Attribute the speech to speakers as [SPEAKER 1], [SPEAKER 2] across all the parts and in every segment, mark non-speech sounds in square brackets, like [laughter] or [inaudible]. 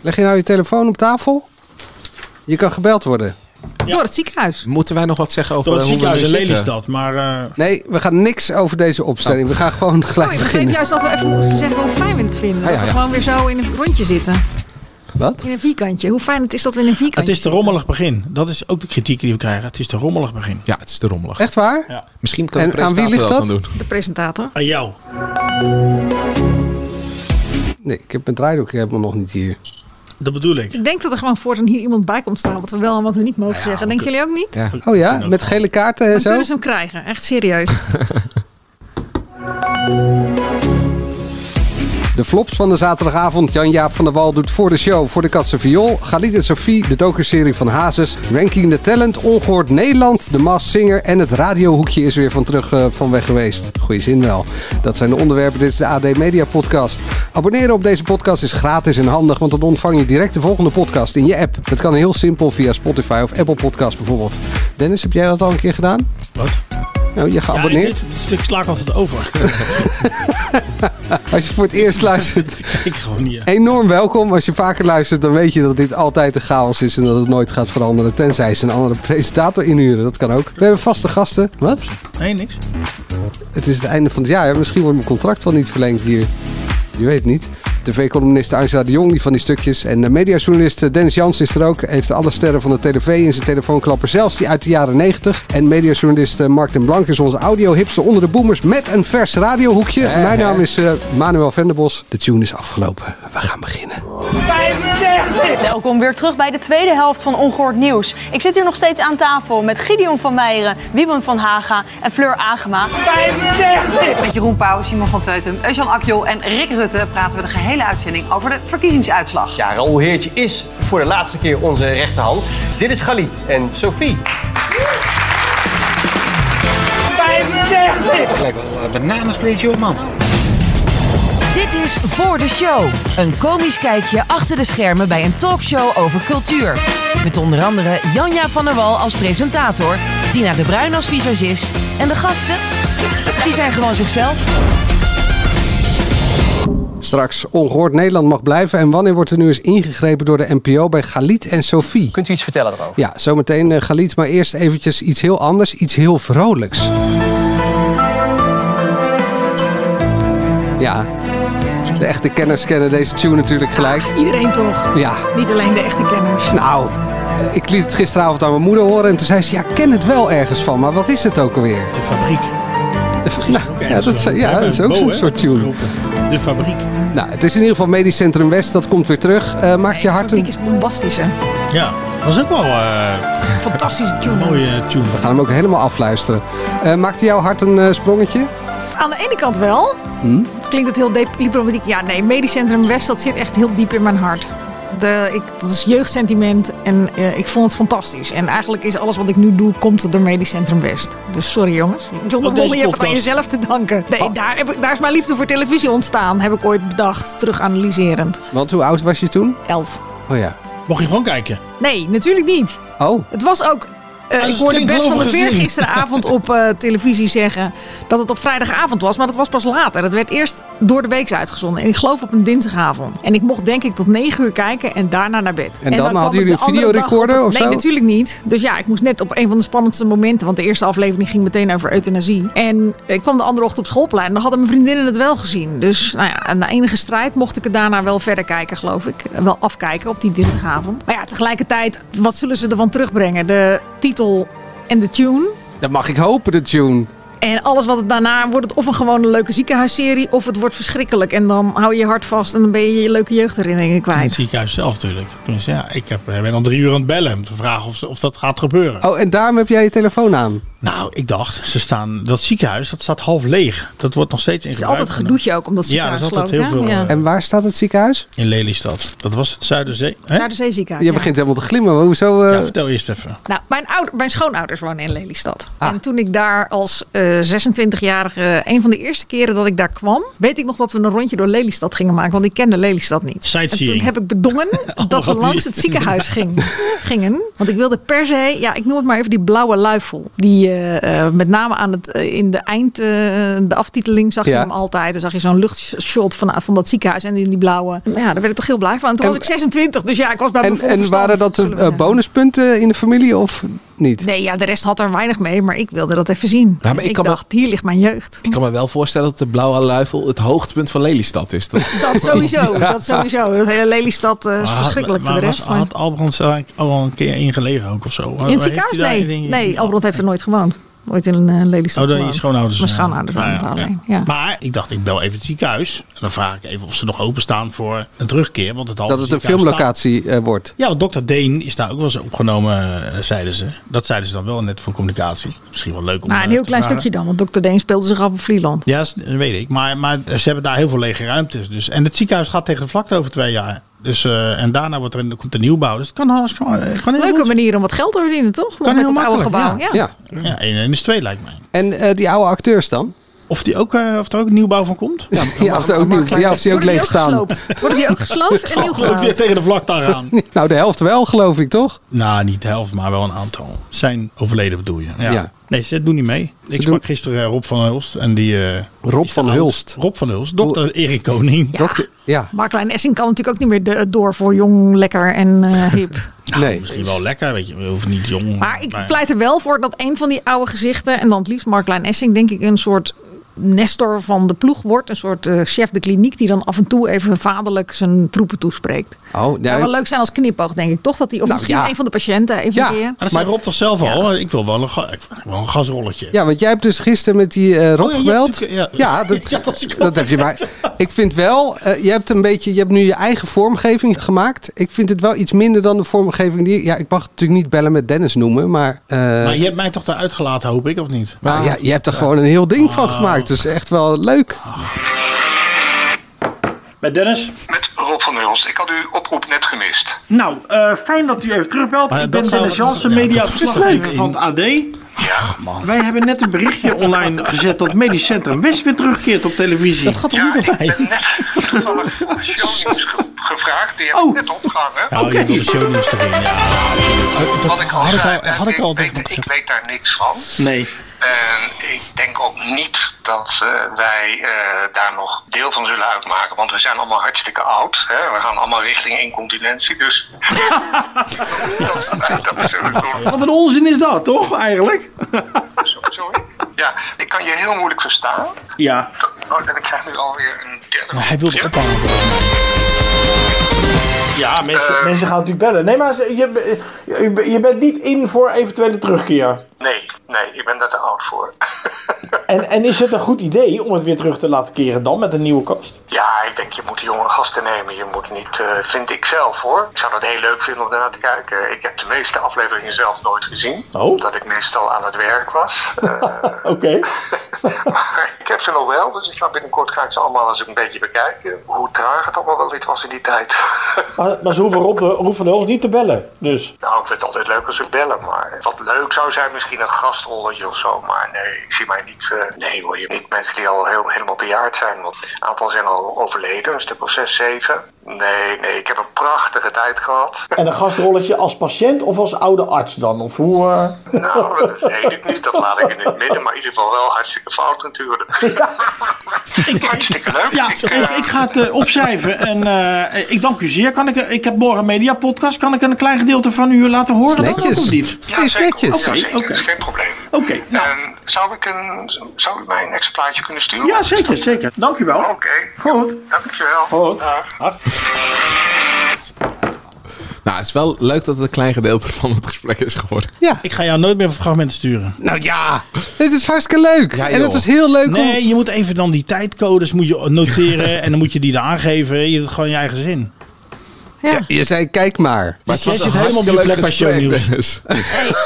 [SPEAKER 1] Leg je nou je telefoon op tafel? Je kan gebeld worden.
[SPEAKER 2] Ja.
[SPEAKER 3] Door het ziekenhuis.
[SPEAKER 2] Moeten wij nog wat zeggen over eh,
[SPEAKER 4] Door het
[SPEAKER 2] hoe we
[SPEAKER 4] ziekenhuis
[SPEAKER 2] nu
[SPEAKER 4] in
[SPEAKER 2] zitten?
[SPEAKER 4] Lelystad. Maar eh,
[SPEAKER 1] Nee, we gaan niks over deze opstelling. We gaan gewoon gelijk
[SPEAKER 3] Oh, ik begreep
[SPEAKER 1] beginnen.
[SPEAKER 3] juist dat we even moesten zeggen hoe fijn we het vinden.
[SPEAKER 2] Ah, ja,
[SPEAKER 3] Dat we
[SPEAKER 2] ja.
[SPEAKER 3] gewoon weer zo in een rondje zitten.
[SPEAKER 1] Wat?
[SPEAKER 3] In een vierkantje. Hoe fijn het is dat we in een
[SPEAKER 4] het
[SPEAKER 3] vierkantje
[SPEAKER 4] is te rommelig begin. Dat is ook de kritiek die we krijgen. Het is te rommelig begin.
[SPEAKER 2] Ja, het is te rommelig.
[SPEAKER 1] Echt waar?
[SPEAKER 4] Ja.
[SPEAKER 2] Misschien kan
[SPEAKER 1] En
[SPEAKER 2] de presentator
[SPEAKER 1] aan wie ligt
[SPEAKER 2] dat
[SPEAKER 1] dat?
[SPEAKER 2] dan doen.
[SPEAKER 3] zitten. De presentator.
[SPEAKER 4] Aan jou.
[SPEAKER 1] Nee, ik heb mijn draaidoek helemaal nog niet hier.
[SPEAKER 4] Dat bedoel ik.
[SPEAKER 3] Ik denk dat er gewoon voortaan hier iemand bij komt staan. Wat we wel en wat we niet mogen zeggen. Denken jullie ook niet?
[SPEAKER 2] Ja.
[SPEAKER 1] Oh ja, met gele kaarten en
[SPEAKER 3] Dan
[SPEAKER 1] zo?
[SPEAKER 3] kunnen ze hem krijgen. Echt serieus.
[SPEAKER 1] De flops van de zaterdagavond. Jan-Jaap van der Wal doet voor de show voor de Katse Viool. Galit en Sophie, de docuserie van Hazes. Ranking the Talent, Ongehoord Nederland, De Maas Singer. En het radiohoekje is weer van terug eh, van weg geweest. Goeie zin wel. Dat zijn de onderwerpen. Dit is de AD Media Podcast. Abonneren op deze podcast is gratis en handig. Want dan ontvang je direct de volgende podcast in je app. Dat kan heel simpel via Spotify of Apple Podcast bijvoorbeeld. Dennis, heb jij dat al een keer gedaan?
[SPEAKER 4] Wat?
[SPEAKER 1] Nou, je
[SPEAKER 4] Ja,
[SPEAKER 1] geabonneerd?
[SPEAKER 4] dit, dit stuk sla ik altijd [laughs] over.
[SPEAKER 1] Als je voor het eerst luistert.
[SPEAKER 4] Dat kijk ik gewoon niet. eh.
[SPEAKER 1] Enorm welkom. Als je vaker luistert, dan weet je dat dit altijd een chaos is en dat het nooit gaat veranderen. Tenzij ze een andere presentator inhuren. Dat kan ook. We hebben vaste gasten. Wat?
[SPEAKER 4] Nee, niks.
[SPEAKER 1] Het is het einde van het jaar. Misschien wordt mijn contract wel niet verlengd hier. Je weet het niet. TV-columniste Angela de Jong, die van die stukjes. En de mediajournalist Dennis Jans is er ook. Heeft alle sterren van de TV in zijn telefoonklapper. Zelfs die uit de jaren 90. En mediajournalist eh, Mark den Blank is onze audio-hipster onder de boomers. Met een vers radiohoekje. Mijn naam is eh, Manuel Venderbos. De tune is afgelopen. We gaan beginnen.
[SPEAKER 5] Welkom weer terug bij de tweede helft van Ongehoord Nieuws. Ik zit hier nog steeds aan tafel met Gideon van Meijeren, Wieben van Haga en Fleur Agema.
[SPEAKER 6] Met Jeroen Pauw, Simon van Teutem, Eusjan Akjol en Rick Rutte praten we de gehele uitzending over de verkiezingsuitslag.
[SPEAKER 7] Ja, Raoul Heertje is voor de laatste keer onze rechterhand. Dit is Galit en Sophie.
[SPEAKER 6] Dit is Voor de Show. Een komisch kijkje achter de schermen bij een talkshow over cultuur. Met onder andere Janja van der Wal als presentator, Tina de Bruin als visagist en de gasten, die zijn gewoon zichzelf.
[SPEAKER 1] Straks ongehoord Nederland mag blijven. En wanneer wordt er nu eens ingegrepen door de NPO bij Galit en Sophie?
[SPEAKER 7] Kunt u iets vertellen erover?
[SPEAKER 1] Ja, zometeen eh, Galit, maar eerst eventjes iets heel anders, iets heel vrolijks. Ja, de echte kenners kennen deze tune natuurlijk gelijk.
[SPEAKER 3] Iedereen toch.
[SPEAKER 1] Ja,
[SPEAKER 3] Niet alleen de echte kenners.
[SPEAKER 1] nou, eh, ik liet het gisteravond aan mijn moeder horen en toen zei ze, ja, ik ken het wel ergens van, maar wat is het ook alweer?
[SPEAKER 4] De fabriek.
[SPEAKER 1] Nou, ja, dat is, ja, dat is ook zo'n soort tune.
[SPEAKER 4] De fabriek.
[SPEAKER 1] Nou, het is in ieder geval Medisch Centrum West, dat komt weer terug. Eh, maakt je hart
[SPEAKER 3] Hartelijk
[SPEAKER 1] een...
[SPEAKER 3] is bombastisch, hè?
[SPEAKER 4] Ja. Dat is ook wel eh,
[SPEAKER 3] Fantastische
[SPEAKER 4] een
[SPEAKER 3] tune.
[SPEAKER 4] mooie tune.
[SPEAKER 1] We gaan hem ook helemaal afluisteren. Eh maakte jouw hart een eh, sprongetje?
[SPEAKER 3] Aan de ene kant wel.
[SPEAKER 4] Hm?
[SPEAKER 3] Klinkt het heel dep- diplomatiek. Ja, nee, Medisch Centrum West, dat zit echt heel diep in mijn hart. De, ik, dat is jeugdsentiment en eh, ik vond het fantastisch. En eigenlijk is alles wat ik nu doe, komt door Medisch Centrum West. Dus sorry jongens. John de
[SPEAKER 4] Ook deze
[SPEAKER 3] Mol, je hebt het aan
[SPEAKER 4] podcast. Ah.
[SPEAKER 3] jezelf te danken. Nee, daar, heb ik, daar is mijn liefde voor televisie ontstaan, heb ik ooit bedacht. Terug analyserend.
[SPEAKER 1] Want hoe oud was je toen?
[SPEAKER 3] Elf.
[SPEAKER 1] Oh ja.
[SPEAKER 4] Mocht je gewoon kijken.
[SPEAKER 3] Nee, natuurlijk niet.
[SPEAKER 1] Oh,
[SPEAKER 3] Het was ook. eh,
[SPEAKER 4] is
[SPEAKER 3] ik hoorde
[SPEAKER 4] geen
[SPEAKER 3] Bert van der
[SPEAKER 4] gelovige
[SPEAKER 3] Veer
[SPEAKER 4] zin.
[SPEAKER 3] gisteravond op eh, televisie zeggen dat het op vrijdagavond was, maar dat was pas later. Dat werd eerst door de week uitgezonden. En ik geloof op een dinsdagavond. En ik mocht denk ik tot negen uur kijken en daarna naar bed. En,
[SPEAKER 1] dan hadden
[SPEAKER 3] kwam ik
[SPEAKER 1] jullie
[SPEAKER 3] de
[SPEAKER 1] een
[SPEAKER 3] andere dag
[SPEAKER 1] videorecorder
[SPEAKER 3] op het-
[SPEAKER 1] of
[SPEAKER 3] Nee,
[SPEAKER 1] zo?
[SPEAKER 3] natuurlijk niet. Dus ja, ik moest net op een van de spannendste momenten, want de eerste aflevering ging meteen over euthanasie. En ik kwam de andere ochtend op schoolplein en dan hadden mijn vriendinnen het wel gezien. Dus nou ja, na enige strijd mocht ik het daarna wel verder kijken, geloof ik. Wel afkijken op die dinsdagavond. Maar ja, tegelijkertijd, wat zullen ze ervan terugbrengen? De titel en de tune.
[SPEAKER 1] dat mag ik hopen, de tune.
[SPEAKER 3] En alles wat het daarna wordt, het of een gewone leuke ziekenhuisserie, of het wordt verschrikkelijk. En dan hou je je hart vast en dan ben je je leuke jeugdherinneringen
[SPEAKER 4] In het
[SPEAKER 3] kwijt.
[SPEAKER 4] ziekenhuis zelf natuurlijk. Tenminste, ja, ik heb, eh, ben al drie uur aan het bellen om te vragen of, ze- of dat gaat gebeuren.
[SPEAKER 1] Oh, en daarom heb jij je telefoon aan.
[SPEAKER 4] Nou, ik dacht, ze staan, dat ziekenhuis dat staat half leeg. Dat wordt nog steeds in
[SPEAKER 3] Het is
[SPEAKER 4] gebruik.
[SPEAKER 3] altijd gedoetje ook, omdat
[SPEAKER 4] Ja, dat
[SPEAKER 3] ziekenhuis
[SPEAKER 4] is altijd
[SPEAKER 3] geloof ik,
[SPEAKER 4] heel
[SPEAKER 3] hè?
[SPEAKER 4] veel,
[SPEAKER 3] Ja.
[SPEAKER 4] eh,
[SPEAKER 1] En waar staat het ziekenhuis?
[SPEAKER 4] genomen. In Lelystad. Dat was het Zuiderzee. Hè?
[SPEAKER 3] Naar de zeeziekenhuis.
[SPEAKER 1] Je
[SPEAKER 3] ja.
[SPEAKER 1] begint helemaal te glimmen. maar Hoezo? eh,
[SPEAKER 4] Ja, vertel eerst even.
[SPEAKER 3] Nou, mijn, ouder, mijn schoonouders wonen in Lelystad.
[SPEAKER 1] Ah.
[SPEAKER 3] En toen ik daar als eh, 26-jarige, een van de eerste keren dat ik daar kwam, weet ik nog dat we een rondje door Lelystad gingen maken, want ik kende Lelystad niet. En
[SPEAKER 4] Sightseeing.
[SPEAKER 3] toen heb ik bedongen dat we
[SPEAKER 4] wat
[SPEAKER 3] langs
[SPEAKER 4] lief.
[SPEAKER 3] het ziekenhuis ging, gingen. Want ik wilde per se, ja, ik noem het maar even die blauwe luifel. Die je eh, met name aan het, eh, in de eind, eh, de aftiteling zag
[SPEAKER 1] Ja.
[SPEAKER 3] je hem altijd. Dan zag je zo'n luchtshot van, van dat ziekenhuis en in die blauwe. Nou Ja, daar werd ik toch heel blij van. En toen
[SPEAKER 1] En-
[SPEAKER 3] was ik 26, dus ja, ik was bij mijn
[SPEAKER 1] En,
[SPEAKER 3] volle
[SPEAKER 1] en
[SPEAKER 3] verstand,
[SPEAKER 1] waren dat
[SPEAKER 3] zullen we
[SPEAKER 1] eh,
[SPEAKER 3] zeggen.
[SPEAKER 1] bonuspunten in de familie of niet?
[SPEAKER 3] Nee, ja, de rest had er weinig mee, maar ik wilde dat even zien.
[SPEAKER 2] Ja, maar ik
[SPEAKER 3] ik
[SPEAKER 2] kan me-
[SPEAKER 3] dacht, hier ligt mijn jeugd.
[SPEAKER 2] Ik kan me wel voorstellen dat de Blauwe Luifel het hoogtepunt van Lelystad
[SPEAKER 4] [laughs]
[SPEAKER 2] is. Dat-
[SPEAKER 3] Dat sowieso, dat sowieso. Dat hele Lelystad eh, is
[SPEAKER 4] Maar had-
[SPEAKER 3] verschrikkelijk
[SPEAKER 4] maar
[SPEAKER 3] voor de
[SPEAKER 4] was-
[SPEAKER 3] rest. maar-
[SPEAKER 4] Had Albrand er eigenlijk al een keer ingelegen ook of zo?
[SPEAKER 3] In het ziekenhuis? Nee, nee Albrand heeft er nooit gewoond. Nooit in een Lelystad
[SPEAKER 4] Oh, dan je
[SPEAKER 3] gewoond.
[SPEAKER 4] schoonouders.
[SPEAKER 3] Mijn
[SPEAKER 4] eh,
[SPEAKER 3] schoonouders
[SPEAKER 4] nou
[SPEAKER 3] waren
[SPEAKER 4] ja,
[SPEAKER 3] het
[SPEAKER 4] ja.
[SPEAKER 3] alleen. Ja.
[SPEAKER 4] Maar ik dacht, ik bel even het ziekenhuis. En dan vraag ik even of ze nog openstaan voor een terugkeer. Want het halve
[SPEAKER 1] Dat het een
[SPEAKER 4] ziekenhuis staat-
[SPEAKER 1] filmlocatie eh, wordt.
[SPEAKER 4] Ja, want dokter Deen is daar ook wel eens opgenomen, eh, zeiden ze. Dat zeiden ze dan wel net van communicatie. Misschien wel leuk om
[SPEAKER 3] nou,
[SPEAKER 4] eh,
[SPEAKER 3] een heel
[SPEAKER 4] te
[SPEAKER 3] klein
[SPEAKER 4] vragen.
[SPEAKER 3] stukje dan, want Dr. Deen speelde zich af op Vlieland.
[SPEAKER 4] Ja, dat weet ik. Maar, maar ze hebben daar heel veel lege ruimtes. Dus. En het ziekenhuis gaat tegen de vlakte over twee jaar. Dus, eh, en daarna wordt er, in- komt er nieuwbouw. Dus het kan, hartstikke- eh, kan heel
[SPEAKER 3] Leuke
[SPEAKER 4] goed.
[SPEAKER 3] manier om wat geld te verdienen, toch? Nog
[SPEAKER 4] Kan
[SPEAKER 3] met
[SPEAKER 4] heel
[SPEAKER 3] dat oude
[SPEAKER 4] makkelijk,
[SPEAKER 3] gebouw. Ja.
[SPEAKER 1] Ja.
[SPEAKER 4] Ja, 1 is 2 lijkt mij.
[SPEAKER 1] En eh, die oude acteurs dan?
[SPEAKER 4] Of, die ook, eh, of er ook nieuwbouw van komt?
[SPEAKER 1] Ja, of, [laughs] die ook nieuw- ja, of die ook
[SPEAKER 3] Worden die
[SPEAKER 1] leeg
[SPEAKER 3] ook
[SPEAKER 1] staan.
[SPEAKER 3] gesloopt? Worden die ook gesloopt
[SPEAKER 4] [laughs]
[SPEAKER 3] en nieuw
[SPEAKER 4] Ook weer
[SPEAKER 3] gebouwd?
[SPEAKER 4] tegen de vlakte [laughs] aan.
[SPEAKER 1] [laughs] Nou, de helft wel, geloof ik, toch?
[SPEAKER 4] nou, niet de helft, maar wel een aantal. Zijn overleden bedoel je? Ja.
[SPEAKER 1] Ja.
[SPEAKER 4] Nee, ze doen niet mee. Ik
[SPEAKER 1] doen-
[SPEAKER 4] sprak gisteren eh, Rob van Hulst. En die, eh,
[SPEAKER 1] Rob
[SPEAKER 4] is de
[SPEAKER 1] van
[SPEAKER 4] oud-
[SPEAKER 1] Hulst.
[SPEAKER 4] Rob van Hulst. Dokter Erik Koning.
[SPEAKER 3] Ja.
[SPEAKER 1] Dokter- ja.
[SPEAKER 3] Maar Klein Essing kan natuurlijk ook niet meer de- door voor jong, lekker en eh, hip.
[SPEAKER 4] Nou,
[SPEAKER 1] Nee.
[SPEAKER 4] Misschien wel lekker, weet je. We hoeven niet jong.
[SPEAKER 3] Maar ik pleit er wel voor dat een van die oude gezichten, en dan het liefst Marklein Essing, denk ik een soort nestor van de ploeg wordt. Een soort eh, chef de kliniek die dan af en toe even vaderlijk zijn troepen toespreekt.
[SPEAKER 1] Oh,
[SPEAKER 3] zou
[SPEAKER 1] ja,
[SPEAKER 3] wel leuk zijn als knipoog, denk ik. Toch dat die, of
[SPEAKER 1] Nou,
[SPEAKER 3] misschien
[SPEAKER 1] ja.
[SPEAKER 3] een van eh, de patiënten even
[SPEAKER 1] Ja.
[SPEAKER 3] een keer.
[SPEAKER 4] Maar dat zei Rob toch zelf al? Ik wil wel een, ga- ik wil wel een gasrolletje.
[SPEAKER 1] ja, want jij hebt dus gisteren met die eh, Rob
[SPEAKER 4] Oh, ja, je
[SPEAKER 1] gebeld.
[SPEAKER 4] hebt natuurlijk- ja.
[SPEAKER 1] dat,
[SPEAKER 4] Ja, was ik al
[SPEAKER 1] dat heb je. Maar ik vind wel, eh, je hebt een beetje, je hebt nu je eigen vormgeving gemaakt. Ik vind het wel iets minder dan de vormgeving die. Ja, ik mag het natuurlijk niet bellen met Dennis noemen, maar. eh,
[SPEAKER 4] Maar je hebt mij toch eruit gelaten, hoop ik, of niet?
[SPEAKER 1] maar ja, je hebt er gewoon een heel ding van gemaakt. Dus echt wel leuk.
[SPEAKER 8] Met Dennis.
[SPEAKER 9] Met Rob van Hulst. Ik had uw oproep net gemist.
[SPEAKER 8] Nou, eh, fijn dat u even terugbelt.
[SPEAKER 4] Maar
[SPEAKER 8] ik
[SPEAKER 4] dat
[SPEAKER 8] ben
[SPEAKER 4] zou-
[SPEAKER 8] Dennis Jansen,
[SPEAKER 4] ja, dat is
[SPEAKER 8] mediaverslaggever
[SPEAKER 4] leuk.
[SPEAKER 8] van het AD. Wij hebben net een berichtje online gezet dat Medisch Centrum West weer terugkeert op televisie.
[SPEAKER 4] Gaat toch
[SPEAKER 9] Ja,
[SPEAKER 4] niet
[SPEAKER 9] ik
[SPEAKER 4] op mij?
[SPEAKER 9] ben net toevallig shownieuws ge- gevraagd. Die heb ik
[SPEAKER 8] Oh.
[SPEAKER 9] net opgehangen.
[SPEAKER 4] Ja, je wil de shownieuws erin. Ja.
[SPEAKER 9] Wat ik al
[SPEAKER 4] had ik
[SPEAKER 9] zei,
[SPEAKER 4] al- had ik al
[SPEAKER 9] weet,
[SPEAKER 4] tegen
[SPEAKER 9] ik
[SPEAKER 4] gezegd.
[SPEAKER 9] weet daar niks van.
[SPEAKER 8] Nee.
[SPEAKER 9] En ik denk ook niet dat eh, wij eh, daar nog deel van zullen uitmaken. Want we zijn allemaal hartstikke oud. Hè? We gaan allemaal richting incontinentie. Dus dat, dat is sowieso-
[SPEAKER 8] Wat een onzin is dat, toch? Eigenlijk?
[SPEAKER 9] Sorry. Ja, ik kan je heel moeilijk verstaan.
[SPEAKER 8] Ja.
[SPEAKER 9] Oh, en ik krijg nu alweer een derde.
[SPEAKER 4] Maar hij wilde
[SPEAKER 9] Ja.
[SPEAKER 4] ophangen.
[SPEAKER 8] Ja, mensen,
[SPEAKER 9] Eh,
[SPEAKER 8] mensen gaan natuurlijk bellen. Nee, maar ze- je, je, je bent niet in voor eventuele terugkeer.
[SPEAKER 9] Nee, nee, ik ben daar te oud voor.
[SPEAKER 8] En, en is het een goed idee om het weer terug te laten keren dan met een nieuwe kast?
[SPEAKER 9] ja, ik denk je moet jonge gasten nemen. Je moet niet, eh, vind ik zelf hoor. Ik zou dat heel leuk vinden om daarna te kijken. Ik heb de meeste afleveringen zelf nooit gezien.
[SPEAKER 8] Oh.
[SPEAKER 9] Omdat ik meestal aan het werk was. Eh, [laughs]
[SPEAKER 8] Oké.
[SPEAKER 9] maar ik heb ze nog wel, dus ik ga binnenkort ga ik ze allemaal eens een beetje bekijken. Hoe traag het allemaal wel dit was in die tijd.
[SPEAKER 8] Maar, maar ze hoeven Rob, de- Rob van de Hoog niet te bellen. Dus.
[SPEAKER 9] nou, ik vind het altijd leuk als ze bellen. Maar wat leuk zou zijn, misschien een gastrolletje of zo. Maar nee, ik zie mij niet. eh, nee hoor, je niet mensen die al heel, helemaal bejaard zijn. Want een aantal zijn al overleden, een stuk of zes, zeven. Nee, nee, ik heb een prachtige tijd gehad.
[SPEAKER 8] En een gastrolletje als patiënt of als oude arts dan? Of hoe... eh?
[SPEAKER 9] Nou, dat weet ik
[SPEAKER 8] [laughs]
[SPEAKER 9] niet. Dat laat ik in het midden. Maar in ieder geval wel hartstikke fout natuurlijk. [laughs] hartstikke leuk.
[SPEAKER 8] Ja,
[SPEAKER 9] Ik,
[SPEAKER 8] ik,
[SPEAKER 9] eh,
[SPEAKER 8] ik ga het eh, opschrijven. En eh, ik dank u zeer. Kan ik, ik heb morgen een mediapodcast. Kan ik een klein gedeelte van u laten horen? dan?
[SPEAKER 1] netjes.
[SPEAKER 8] Dat ook niet.
[SPEAKER 9] ja,
[SPEAKER 1] Het is
[SPEAKER 9] zeker.
[SPEAKER 1] netjes.
[SPEAKER 9] Ja, zeker.
[SPEAKER 8] Oké, oké.
[SPEAKER 9] Geen probleem.
[SPEAKER 8] Oké, nou.
[SPEAKER 9] En zou ik, een, zou ik mij een exemplaartje kunnen sturen?
[SPEAKER 8] Ja, zeker, zeker. Dank u wel.
[SPEAKER 9] Oké,
[SPEAKER 8] Goed.
[SPEAKER 9] dankjewel.
[SPEAKER 8] Goed.
[SPEAKER 9] Dag.
[SPEAKER 2] nou, het is wel leuk dat het een klein gedeelte van het gesprek is
[SPEAKER 4] Dus
[SPEAKER 2] geworden.
[SPEAKER 1] Ja.
[SPEAKER 4] Ik ga jou nooit meer fragmenten sturen.
[SPEAKER 1] Nou ja, dit is hartstikke leuk.
[SPEAKER 2] Ja,
[SPEAKER 1] en
[SPEAKER 2] joh.
[SPEAKER 1] het was heel leuk om
[SPEAKER 4] Nee, je moet even dan die tijdcodes moet je [laughs] noteren. en dan moet je die daar aangeven. Je doet het gewoon in je eigen zin.
[SPEAKER 3] Ja.
[SPEAKER 1] Je zei, kijk maar.
[SPEAKER 2] Maar
[SPEAKER 4] Dus jij zit helemaal op je plek bij shownieuws.
[SPEAKER 1] [laughs]
[SPEAKER 2] Dennis.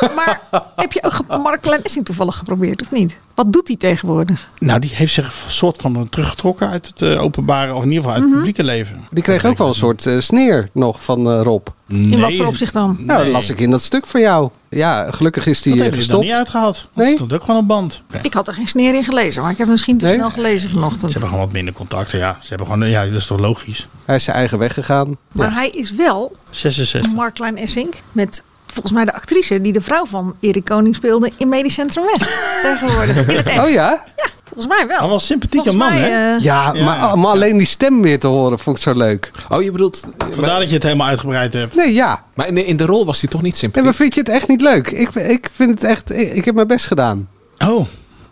[SPEAKER 3] Maar heb je ook ge- Mark Klein Essing toevallig geprobeerd, of niet? Wat doet hij tegenwoordig?
[SPEAKER 4] Nou, die heeft zich een soort van teruggetrokken uit het eh, openbare, of in ieder geval uit het publieke leven.
[SPEAKER 1] Die kreeg ook wel een soort eh, sneer nog van eh, Rob.
[SPEAKER 3] In wat voor opzicht dan?
[SPEAKER 1] Nou, dat las ik in dat stuk van jou. Ja, gelukkig is die
[SPEAKER 4] Die
[SPEAKER 1] eh,
[SPEAKER 4] heeft hij er
[SPEAKER 1] gestopt.
[SPEAKER 4] niet uitgehaald.
[SPEAKER 1] Nee?
[SPEAKER 4] Dat stond ook gewoon op band. Ze
[SPEAKER 3] Ik had er geen sneer in gelezen, maar ik heb het misschien te
[SPEAKER 1] Nee?
[SPEAKER 3] snel gelezen vanochtend.
[SPEAKER 4] hebben gewoon wat minder contacten, ja. Ze hebben gewoon, ja, dat is toch logisch.
[SPEAKER 1] Hij is zijn eigen weg gegaan.
[SPEAKER 3] Maar
[SPEAKER 1] Ja.
[SPEAKER 3] hij is wel
[SPEAKER 4] 66.
[SPEAKER 3] Mark Klein Essink met volgens mij de actrice die de vrouw van Erik Koning speelde in Medisch Centrum
[SPEAKER 4] [laughs]
[SPEAKER 3] West. tegenwoordig. In het echt.
[SPEAKER 1] Oh ja?
[SPEAKER 3] Volgens mij wel.
[SPEAKER 4] Hij was een sympathieke
[SPEAKER 3] Volgens
[SPEAKER 4] man,
[SPEAKER 3] mij,
[SPEAKER 4] hè?
[SPEAKER 3] eh,
[SPEAKER 1] Ja, Maar, oh, maar alleen die stem weer te horen vond ik zo leuk.
[SPEAKER 2] Oh, je bedoelt...
[SPEAKER 4] Vandaar
[SPEAKER 2] Maar,
[SPEAKER 4] dat je het helemaal uitgebreid hebt.
[SPEAKER 1] Nee, ja.
[SPEAKER 2] maar in, de, in de rol was hij toch niet
[SPEAKER 1] Nee,
[SPEAKER 2] sympathiek?
[SPEAKER 1] maar vind je het echt niet leuk? Ik, ik vind het echt... Ik, ik heb mijn best gedaan.
[SPEAKER 4] Oh,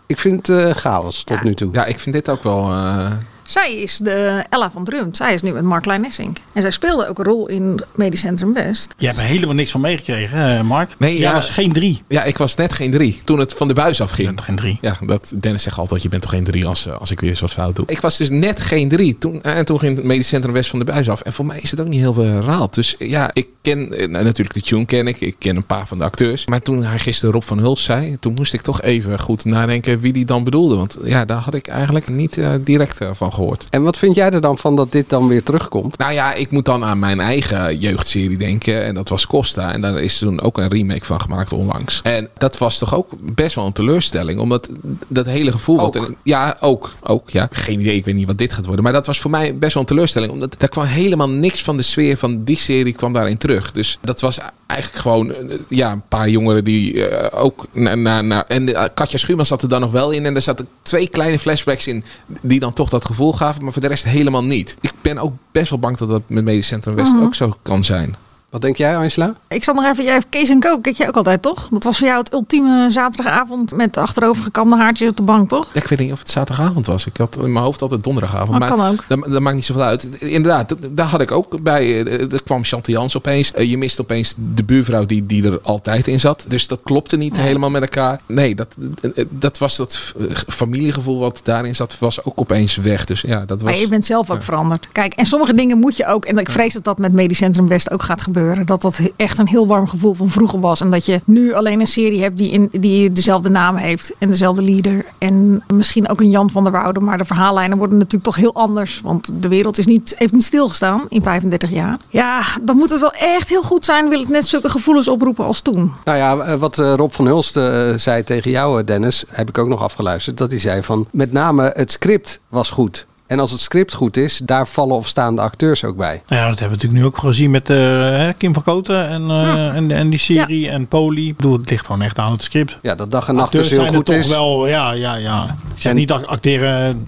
[SPEAKER 1] Ik vind het eh, chaos tot nu toe.
[SPEAKER 2] Ja, ik vind dit ook wel... eh,
[SPEAKER 3] Zij is de Ella van Drumt. Zij is nu met Mark Nessink. En zij speelde ook een rol in Medisch Centrum West.
[SPEAKER 4] je hebt er helemaal niks van meegekregen, hè, Mark.
[SPEAKER 2] Nee,
[SPEAKER 4] Jij
[SPEAKER 2] ja.
[SPEAKER 4] was geen drie.
[SPEAKER 2] ja, ik was net geen drie toen het van de buis
[SPEAKER 4] Je
[SPEAKER 2] afging.
[SPEAKER 4] bent geen drie.
[SPEAKER 2] Ja, dat, Dennis zegt altijd, je bent toch geen drie als, eh, als ik weer eens wat fout doe. Ik was dus net geen drie. Toen, eh, en toen ging het medisch centrum West van de Buis af. En voor mij is het ook niet heel veel herhaald. Dus eh, ja, ik ken eh, nou, natuurlijk de tune ken ik. Ik ken een paar van de acteurs. Maar toen hij gisteren Rob van Huls zei, toen moest ik toch even goed nadenken wie die dan bedoelde. Want ja, daar had ik eigenlijk niet eh, direct eh, van gehoord.
[SPEAKER 1] En wat vind jij er dan van dat dit dan weer terugkomt?
[SPEAKER 2] Nou ja, ik moet dan aan mijn eigen jeugdserie denken. En dat was Costa. En daar is toen ook een remake van gemaakt onlangs. En dat was toch ook best wel een teleurstelling. Omdat dat hele gevoel... Wat
[SPEAKER 1] Ook.
[SPEAKER 2] in- ja, ook. Ook, ja. Geen idee, ik weet niet wat dit gaat worden. Maar dat was voor mij best wel een teleurstelling. Omdat daar kwam helemaal niks van de sfeer van die serie kwam daarin terug. Dus dat was eigenlijk gewoon eh, ja, een paar jongeren die eh, ook... Na, na, na, en eh, Katja Schuurman zat er dan nog wel in. En er zaten twee kleine flashbacks in die dan toch dat gevoel gaven. Maar voor de rest helemaal niet. Ik ben ook best wel bang dat dat met Medisch Centrum West ook zo kan zijn.
[SPEAKER 1] Wat denk jij, Angela?
[SPEAKER 3] Ik zat nog even, jij Kees en Kook, kijk jij ook altijd toch? Dat was voor jou het ultieme zaterdagavond met de achterovergekamde haartjes op de bank toch?
[SPEAKER 2] Ja, Ik weet niet of het zaterdagavond was. Ik had in mijn hoofd altijd donderdagavond.
[SPEAKER 3] Oh,
[SPEAKER 2] maar
[SPEAKER 3] kan ook.
[SPEAKER 2] Dat, dat maakt niet zoveel uit. Inderdaad, dat- daar had ik ook bij. eh, Er kwam Chantal Jans opeens. Eh, Je mist opeens de buurvrouw die, die er altijd in zat. Dus dat klopte niet helemaal met elkaar. Nee, dat, eh, dat was dat f- eh, familiegevoel wat daarin zat, was ook opeens weg. Dus ja, dat was...
[SPEAKER 3] Maar je bent zelf ook veranderd. Kijk, en sommige dingen moet je ook. En ik vrees dat dat met Medisch Centrum West ook gaat gebeuren. Dat dat echt een heel warm gevoel van vroeger was. En dat je nu alleen een serie hebt die, in, die dezelfde naam heeft. En dezelfde leader. En misschien ook een Jan van der Woude. Maar de verhaallijnen worden natuurlijk toch heel anders. Want de wereld is niet, heeft niet stilgestaan in 35 jaar. Ja, dan moet het wel echt heel goed zijn. Wil het net zulke gevoelens oproepen als toen.
[SPEAKER 1] Nou ja, eh, wat eh, Rob van Hulst eh, zei tegen jou, eh, Dennis, heb ik ook nog afgeluisterd. Dat hij zei van, met name het script was goed. En als het script goed is, daar vallen of staan de acteurs ook bij.
[SPEAKER 4] Nou Ja, dat hebben we natuurlijk nu ook gezien met eh, hè, Kim van Koten en, eh, en, en die serie en Poli. Ik bedoel, het ligt gewoon echt aan het script.
[SPEAKER 1] Ja, dat dag en nacht
[SPEAKER 4] Acteurs
[SPEAKER 1] dus heel
[SPEAKER 4] zijn er
[SPEAKER 1] goed
[SPEAKER 4] toch
[SPEAKER 1] is.
[SPEAKER 4] wel, ja, ja, ja. Ik zeg
[SPEAKER 1] En-
[SPEAKER 4] niet dat acteren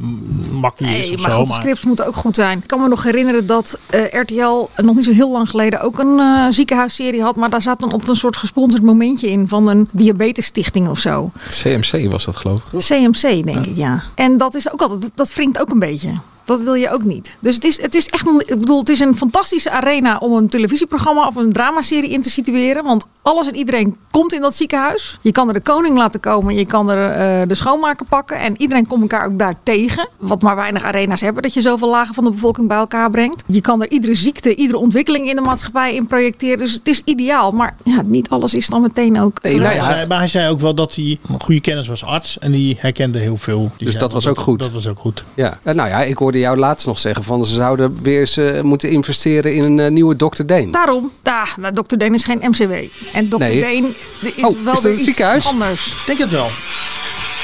[SPEAKER 4] makkelijk is
[SPEAKER 3] Nee,
[SPEAKER 4] of
[SPEAKER 3] maar
[SPEAKER 4] zo,
[SPEAKER 3] goed, de
[SPEAKER 4] maar...
[SPEAKER 3] scripts moeten ook goed zijn. Ik kan me nog herinneren dat eh, RTL nog niet zo heel lang geleden ook een eh, ziekenhuisserie had. Maar daar zat dan op een soort gesponsord momentje in van een diabetesstichting of zo.
[SPEAKER 2] CMC was dat geloof ik.
[SPEAKER 3] CMC, denk ik, ja. En dat is ook altijd, dat wringt ook een beetje. Dat wil je ook niet. Dus het is, het is echt, een- ik bedoel, het is een fantastische arena om een televisieprogramma of een dramaserie in te situeren. Want alles en iedereen komt in dat ziekenhuis. Je kan er de koning laten komen, je kan er eh, de schoonmaker pakken. En iedereen komt elkaar ook daar tegen. Wat maar weinig arena's hebben, dat je zoveel lagen van de bevolking bij elkaar brengt. Je kan er iedere ziekte, iedere ontwikkeling in de maatschappij in projecteren. Dus het is ideaal. Maar ja, niet alles is dan meteen ook.
[SPEAKER 1] Nee, nou
[SPEAKER 4] Hij
[SPEAKER 1] ja,
[SPEAKER 4] zei- maar hij zei ook wel dat hij een goede kennis was arts en die herkende heel veel. Die zei
[SPEAKER 1] Dus dat
[SPEAKER 4] wel
[SPEAKER 1] was ook goed.
[SPEAKER 4] Dat was ook goed.
[SPEAKER 1] ja. Eh, nou ja, ik hoorde jou laatst nog zeggen van ze zouden weer eens eh, moeten investeren in een eh, nieuwe Dr. Deen.
[SPEAKER 3] Daarom, daar, nou, Dr. Deen is geen MCW. En Dr.
[SPEAKER 1] Nee.
[SPEAKER 3] Deen de- is
[SPEAKER 1] Oh, is
[SPEAKER 3] wel
[SPEAKER 1] dat
[SPEAKER 3] weer
[SPEAKER 1] het
[SPEAKER 3] iets
[SPEAKER 1] ziekenhuis?
[SPEAKER 3] anders.
[SPEAKER 4] Ik denk het wel.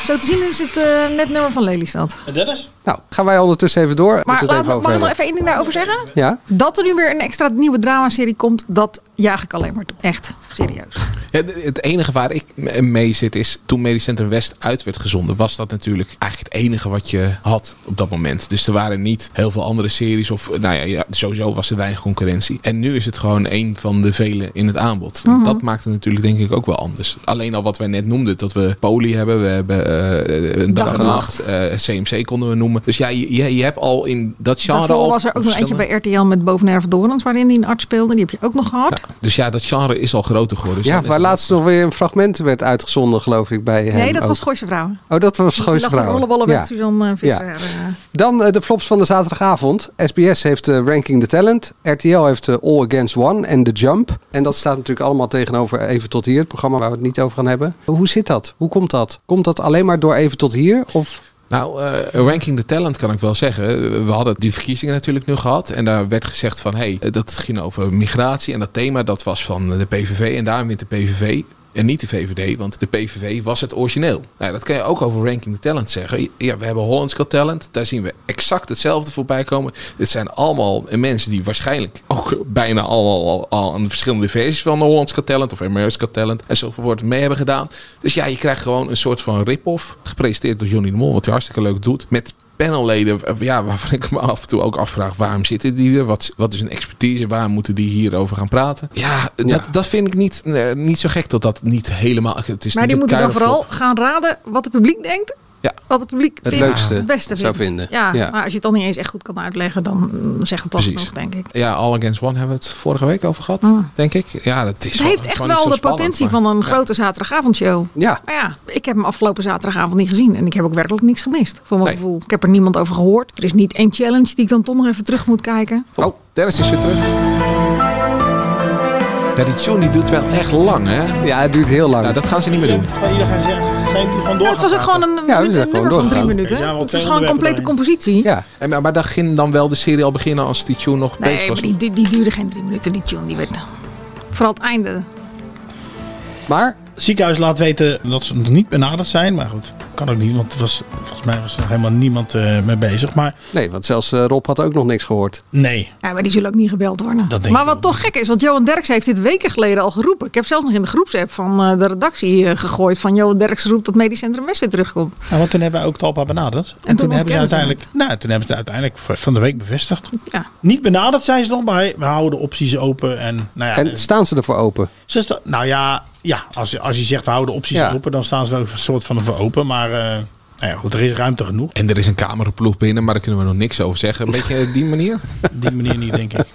[SPEAKER 3] Zo te zien is het eh, net nummer van Lelystad.
[SPEAKER 4] En Dennis?
[SPEAKER 1] Nou, gaan wij ondertussen even door.
[SPEAKER 3] Maar
[SPEAKER 1] Moeten we
[SPEAKER 3] laat,
[SPEAKER 1] het
[SPEAKER 3] me-
[SPEAKER 1] even
[SPEAKER 3] mag
[SPEAKER 1] over
[SPEAKER 3] ik nog
[SPEAKER 1] hebben.
[SPEAKER 3] even één ding daarover zeggen?
[SPEAKER 1] Ja?
[SPEAKER 3] Dat er nu weer een extra nieuwe dramaserie komt, dat jaag ik alleen maar toe. Echt, serieus.
[SPEAKER 2] Ja, d- het enige waar ik m- mee zit is, toen Medisch Centrum West uit werd gezonden, was dat natuurlijk eigenlijk het enige wat je had op dat moment. Dus er waren niet heel veel andere series of, eh, nou ja, ja sowieso was er weinig concurrentie. En nu is het gewoon één van de vele in het aanbod.
[SPEAKER 3] Mhm.
[SPEAKER 2] Dat maakt het natuurlijk denk ik ook wel anders. Alleen al wat wij net noemden, dat we Poli hebben, we hebben eh, een dag, en nacht, eh, CMC konden we noemen. Dus ja, je, je, je hebt al in dat genre
[SPEAKER 3] Daarvoor
[SPEAKER 2] al
[SPEAKER 3] was er ook nog eentje
[SPEAKER 2] verschillende-
[SPEAKER 3] bij RTL met Bovenerf Dorens, waarin die een arts speelde. Die heb je ook nog gehad.
[SPEAKER 2] Dus ja, dat genre is al groter geworden. Dus
[SPEAKER 1] Ja,
[SPEAKER 2] dan is
[SPEAKER 1] waar
[SPEAKER 2] het-
[SPEAKER 1] laatst nog weer een fragment werd uitgezonden, geloof ik, bij hem
[SPEAKER 3] nee, dat
[SPEAKER 1] ook.
[SPEAKER 3] was Gooise Vrouwen.
[SPEAKER 1] Oh, dat was
[SPEAKER 3] Die
[SPEAKER 1] Gooise
[SPEAKER 3] lag te
[SPEAKER 1] Vrouwen.
[SPEAKER 3] rollenballen
[SPEAKER 1] Ja.
[SPEAKER 3] met Suzanne eh, Visser. eh.
[SPEAKER 1] Dan eh, de flops van de zaterdagavond. SBS heeft eh, Ranking the Talent. RTL heeft eh, All Against One en The Jump. En dat staat natuurlijk allemaal tegenover Even Tot Hier, het programma waar we het niet over gaan hebben. Hoe zit dat? Hoe komt dat? Komt dat alleen maar door Even Tot Hier? Of
[SPEAKER 2] Nou, eh, ranking the talent kan ik wel zeggen. We hadden die verkiezingen natuurlijk nu gehad. En daar werd eh, gezegd van, hé, hey, dat ging over migratie. En dat thema dat was van de PVV. En daarom wint de PVV. En niet de VVD, want de PVV was het origineel. Nou, dat kan je ook over Ranking the Talent zeggen. Ja, we hebben Hollands Got Talent. Daar zien we exact hetzelfde voorbij komen. Dit zijn allemaal mensen die waarschijnlijk ook bijna allemaal al, al aan de verschillende versies van Hollands Got Talent of America's Got Talent enzovoort mee hebben gedaan. Dus ja, je krijgt gewoon een soort van rip-off. Gepresenteerd door Johnny de Mol, wat hij hartstikke leuk doet. Met panelleden eh, ja, waarvan ik me af en toe ook afvraag... waarom zitten die er? Wat, wat is hun expertise? Waarom moeten die hierover gaan praten? Ja, dat, dat vind ik niet, eh, niet zo gek dat dat niet helemaal... Het is
[SPEAKER 3] Maar
[SPEAKER 2] niet
[SPEAKER 3] die moeten dan
[SPEAKER 2] een keiharde
[SPEAKER 3] vooral
[SPEAKER 2] flop.
[SPEAKER 3] gaan raden wat het publiek denkt.
[SPEAKER 2] Ja.
[SPEAKER 3] Wat het publiek
[SPEAKER 1] Het
[SPEAKER 3] vindt,
[SPEAKER 1] leukste
[SPEAKER 3] het beste
[SPEAKER 1] zou
[SPEAKER 3] vindt.
[SPEAKER 1] vinden.
[SPEAKER 3] Ja,
[SPEAKER 1] Ja.
[SPEAKER 3] maar als je het dan niet eens echt goed kan uitleggen, dan mm, zegt het toch
[SPEAKER 2] Precies.
[SPEAKER 3] nog, denk ik.
[SPEAKER 2] Ja, All Against One hebben we het vorige week over gehad, denk ik. Ja, dat is
[SPEAKER 3] Het
[SPEAKER 2] wel-
[SPEAKER 3] Ah. heeft echt
[SPEAKER 2] gewoon niet
[SPEAKER 3] wel
[SPEAKER 2] zo
[SPEAKER 3] de
[SPEAKER 2] spannend,
[SPEAKER 3] potentie
[SPEAKER 2] maar-
[SPEAKER 3] van een
[SPEAKER 2] Ja.
[SPEAKER 3] grote zaterdagavondshow.
[SPEAKER 1] Ja.
[SPEAKER 3] Maar ja, ik heb hem afgelopen zaterdagavond niet gezien. En ik heb ook werkelijk niks gemist, voor mijn
[SPEAKER 2] Nee.
[SPEAKER 3] gevoel. Ik heb er niemand over gehoord. Er is niet één challenge die ik dan toch nog even terug moet kijken.
[SPEAKER 2] Oh, Dennis is weer terug. Ja, die tune die doet wel echt lang, hè?
[SPEAKER 1] Ja, het duurt heel lang.
[SPEAKER 2] Nou, dat gaan ze niet meer doen.
[SPEAKER 4] Iedereen gaan zeggen, zijn jullie gewoon door.
[SPEAKER 3] Ja, Nou, het was ook gewoon een,
[SPEAKER 1] Ja, we
[SPEAKER 3] een
[SPEAKER 1] zijn gewoon
[SPEAKER 3] nummer van drie
[SPEAKER 1] doorgegaan.
[SPEAKER 3] minuten.
[SPEAKER 4] Er zijn wel
[SPEAKER 3] Het
[SPEAKER 4] twee
[SPEAKER 3] was gewoon een complete
[SPEAKER 4] onderwerpen
[SPEAKER 3] compositie.
[SPEAKER 1] Ja.
[SPEAKER 2] En, maar- maar daar ging dan wel de serie al beginnen als die tune nog bezig
[SPEAKER 3] Nee,
[SPEAKER 2] was.
[SPEAKER 3] maar die, die, die duurde geen drie minuten, die tune. Die werd vooral het einde.
[SPEAKER 1] Maar
[SPEAKER 4] Het ziekenhuis laat weten dat ze nog niet benaderd zijn. Maar goed, kan ook niet, want er was, volgens mij was er nog helemaal niemand eh, mee bezig. Maar
[SPEAKER 1] nee, want zelfs eh, Rob had ook nog niks gehoord.
[SPEAKER 4] nee,
[SPEAKER 3] Ja, maar die zullen ook niet gebeld worden.
[SPEAKER 4] Dat denk
[SPEAKER 3] maar
[SPEAKER 4] ik
[SPEAKER 3] wat
[SPEAKER 4] ook
[SPEAKER 3] toch gek is, want Johan Derks heeft dit weken geleden al geroepen. Ik heb zelfs nog in de groepsapp van eh, de redactie eh, gegooid van Johan Derks roept dat Medisch Centrum West weer terugkomt.
[SPEAKER 4] Nou, want toen hebben we ook Talpa benaderd. En,
[SPEAKER 3] toen
[SPEAKER 4] toen, hebben ze
[SPEAKER 3] ontkennen ze
[SPEAKER 4] uiteindelijk, nou, toen hebben ze het uiteindelijk v- van de week bevestigd.
[SPEAKER 3] Ja.
[SPEAKER 4] Niet benaderd zijn ze nog, maar we houden de opties open. En, nou ja,
[SPEAKER 2] Ah,
[SPEAKER 1] En staan ze ervoor open?
[SPEAKER 4] ze sta- nou ja, ja als, je, als je zegt we houden de opties
[SPEAKER 1] Ja.
[SPEAKER 4] open, dan staan ze er ook een soort van voor open. Maar eh, nou ja, goed, er is ruimte genoeg.
[SPEAKER 2] En er is een cameraploeg binnen, maar daar kunnen we nog niks over zeggen. Een beetje op die manier?
[SPEAKER 4] Op die manier niet, denk ik.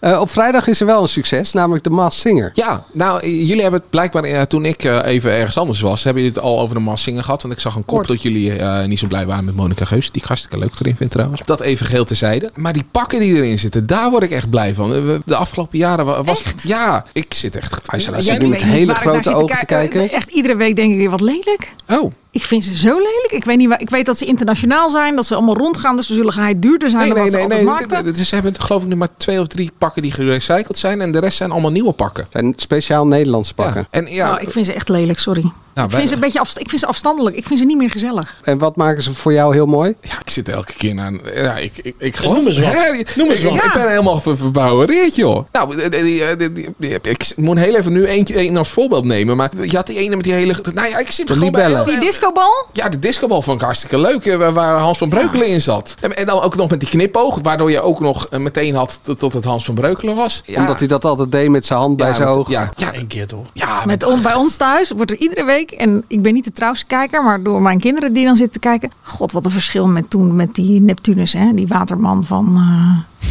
[SPEAKER 1] Eh, op vrijdag is er wel een succes, namelijk de Maas Singer.
[SPEAKER 2] Ja, nou, eh, jullie hebben het blijkbaar, eh, toen ik eh, even ergens anders was, hebben jullie het al over de massingen gehad. Want ik zag een kop
[SPEAKER 3] Kort.
[SPEAKER 2] dat jullie eh, niet zo blij waren met Monica Geus, die ik hartstikke leuk erin vind trouwens. Dat even geheel terzijde. Maar die pakken die erin zitten, daar word ik echt blij van. Eh, we- De afgelopen jaren wa- was... Ja, ik zit echt...
[SPEAKER 1] Angela zit nu
[SPEAKER 3] Ik
[SPEAKER 1] met
[SPEAKER 3] weet niet
[SPEAKER 1] hele
[SPEAKER 3] waar ik naar
[SPEAKER 1] grote
[SPEAKER 3] zit
[SPEAKER 1] ogen te kijken.
[SPEAKER 3] Echt iedere week denk ik weer wat lelijk.
[SPEAKER 2] Oh,
[SPEAKER 3] Ik vind ze zo lelijk. Ik weet, niet waar, ik weet dat ze internationaal zijn, dat ze allemaal rondgaan. Dus ze zullen hij duurder zijn
[SPEAKER 2] nee,
[SPEAKER 3] dan
[SPEAKER 2] nee,
[SPEAKER 3] wat ze
[SPEAKER 2] nee. nee.
[SPEAKER 3] altijd markten.
[SPEAKER 2] Het is- Ze hebben geloof ik nu maar twee of drie pakken die gerecycled zijn en de rest zijn allemaal nieuwe pakken.
[SPEAKER 1] Zijn speciaal Nederlandse pakken.
[SPEAKER 2] Ja. En ja, nou,
[SPEAKER 3] Nou, ik vind ze echt lelijk, sorry. ik,
[SPEAKER 2] wij-
[SPEAKER 3] vind ze een beetje afst- ik vind ze afstandelijk. Ik vind ze niet meer gezellig.
[SPEAKER 1] En wat maken ze voor jou heel mooi?
[SPEAKER 2] Ja, ik zit elke keer naar. Ja, ik, ik, ik geloof.
[SPEAKER 4] noem eens wat.
[SPEAKER 2] Hè,
[SPEAKER 4] Noem eens
[SPEAKER 2] ik,
[SPEAKER 4] wat.
[SPEAKER 2] ik ben helemaal ver- verbouwereerd, joh. Nou, eh, die- eh, die- die- die- ik moet heel even nu eentje één als voorbeeld nemen. Maar je had die ene met die hele. Nou ja, ik zit gewoon bij
[SPEAKER 1] libellen.
[SPEAKER 2] heel-
[SPEAKER 3] Die discobal?
[SPEAKER 2] ja, de discobal vond ik hartstikke leuk, eh, waar- waar Hans van Breukelen in zat. En, en dan ook nog met die knipoog, waardoor je ook nog eh, meteen had dat, dat het Hans van Breukelen was. Ja,
[SPEAKER 1] Omdat hij dat altijd deed met zijn hand bij zijn
[SPEAKER 2] want-
[SPEAKER 1] oog.
[SPEAKER 2] Ja, [laughs] ja,
[SPEAKER 4] Eén keer toch.
[SPEAKER 2] ja,
[SPEAKER 3] Ah, Met on- bij ons thuis wordt er iedere week, en ik ben niet de trouwste kijker, maar door mijn kinderen die dan zitten kijken. God, wat een verschil met toen met die Neptunus, hè? die waterman van.
[SPEAKER 2] [laughs]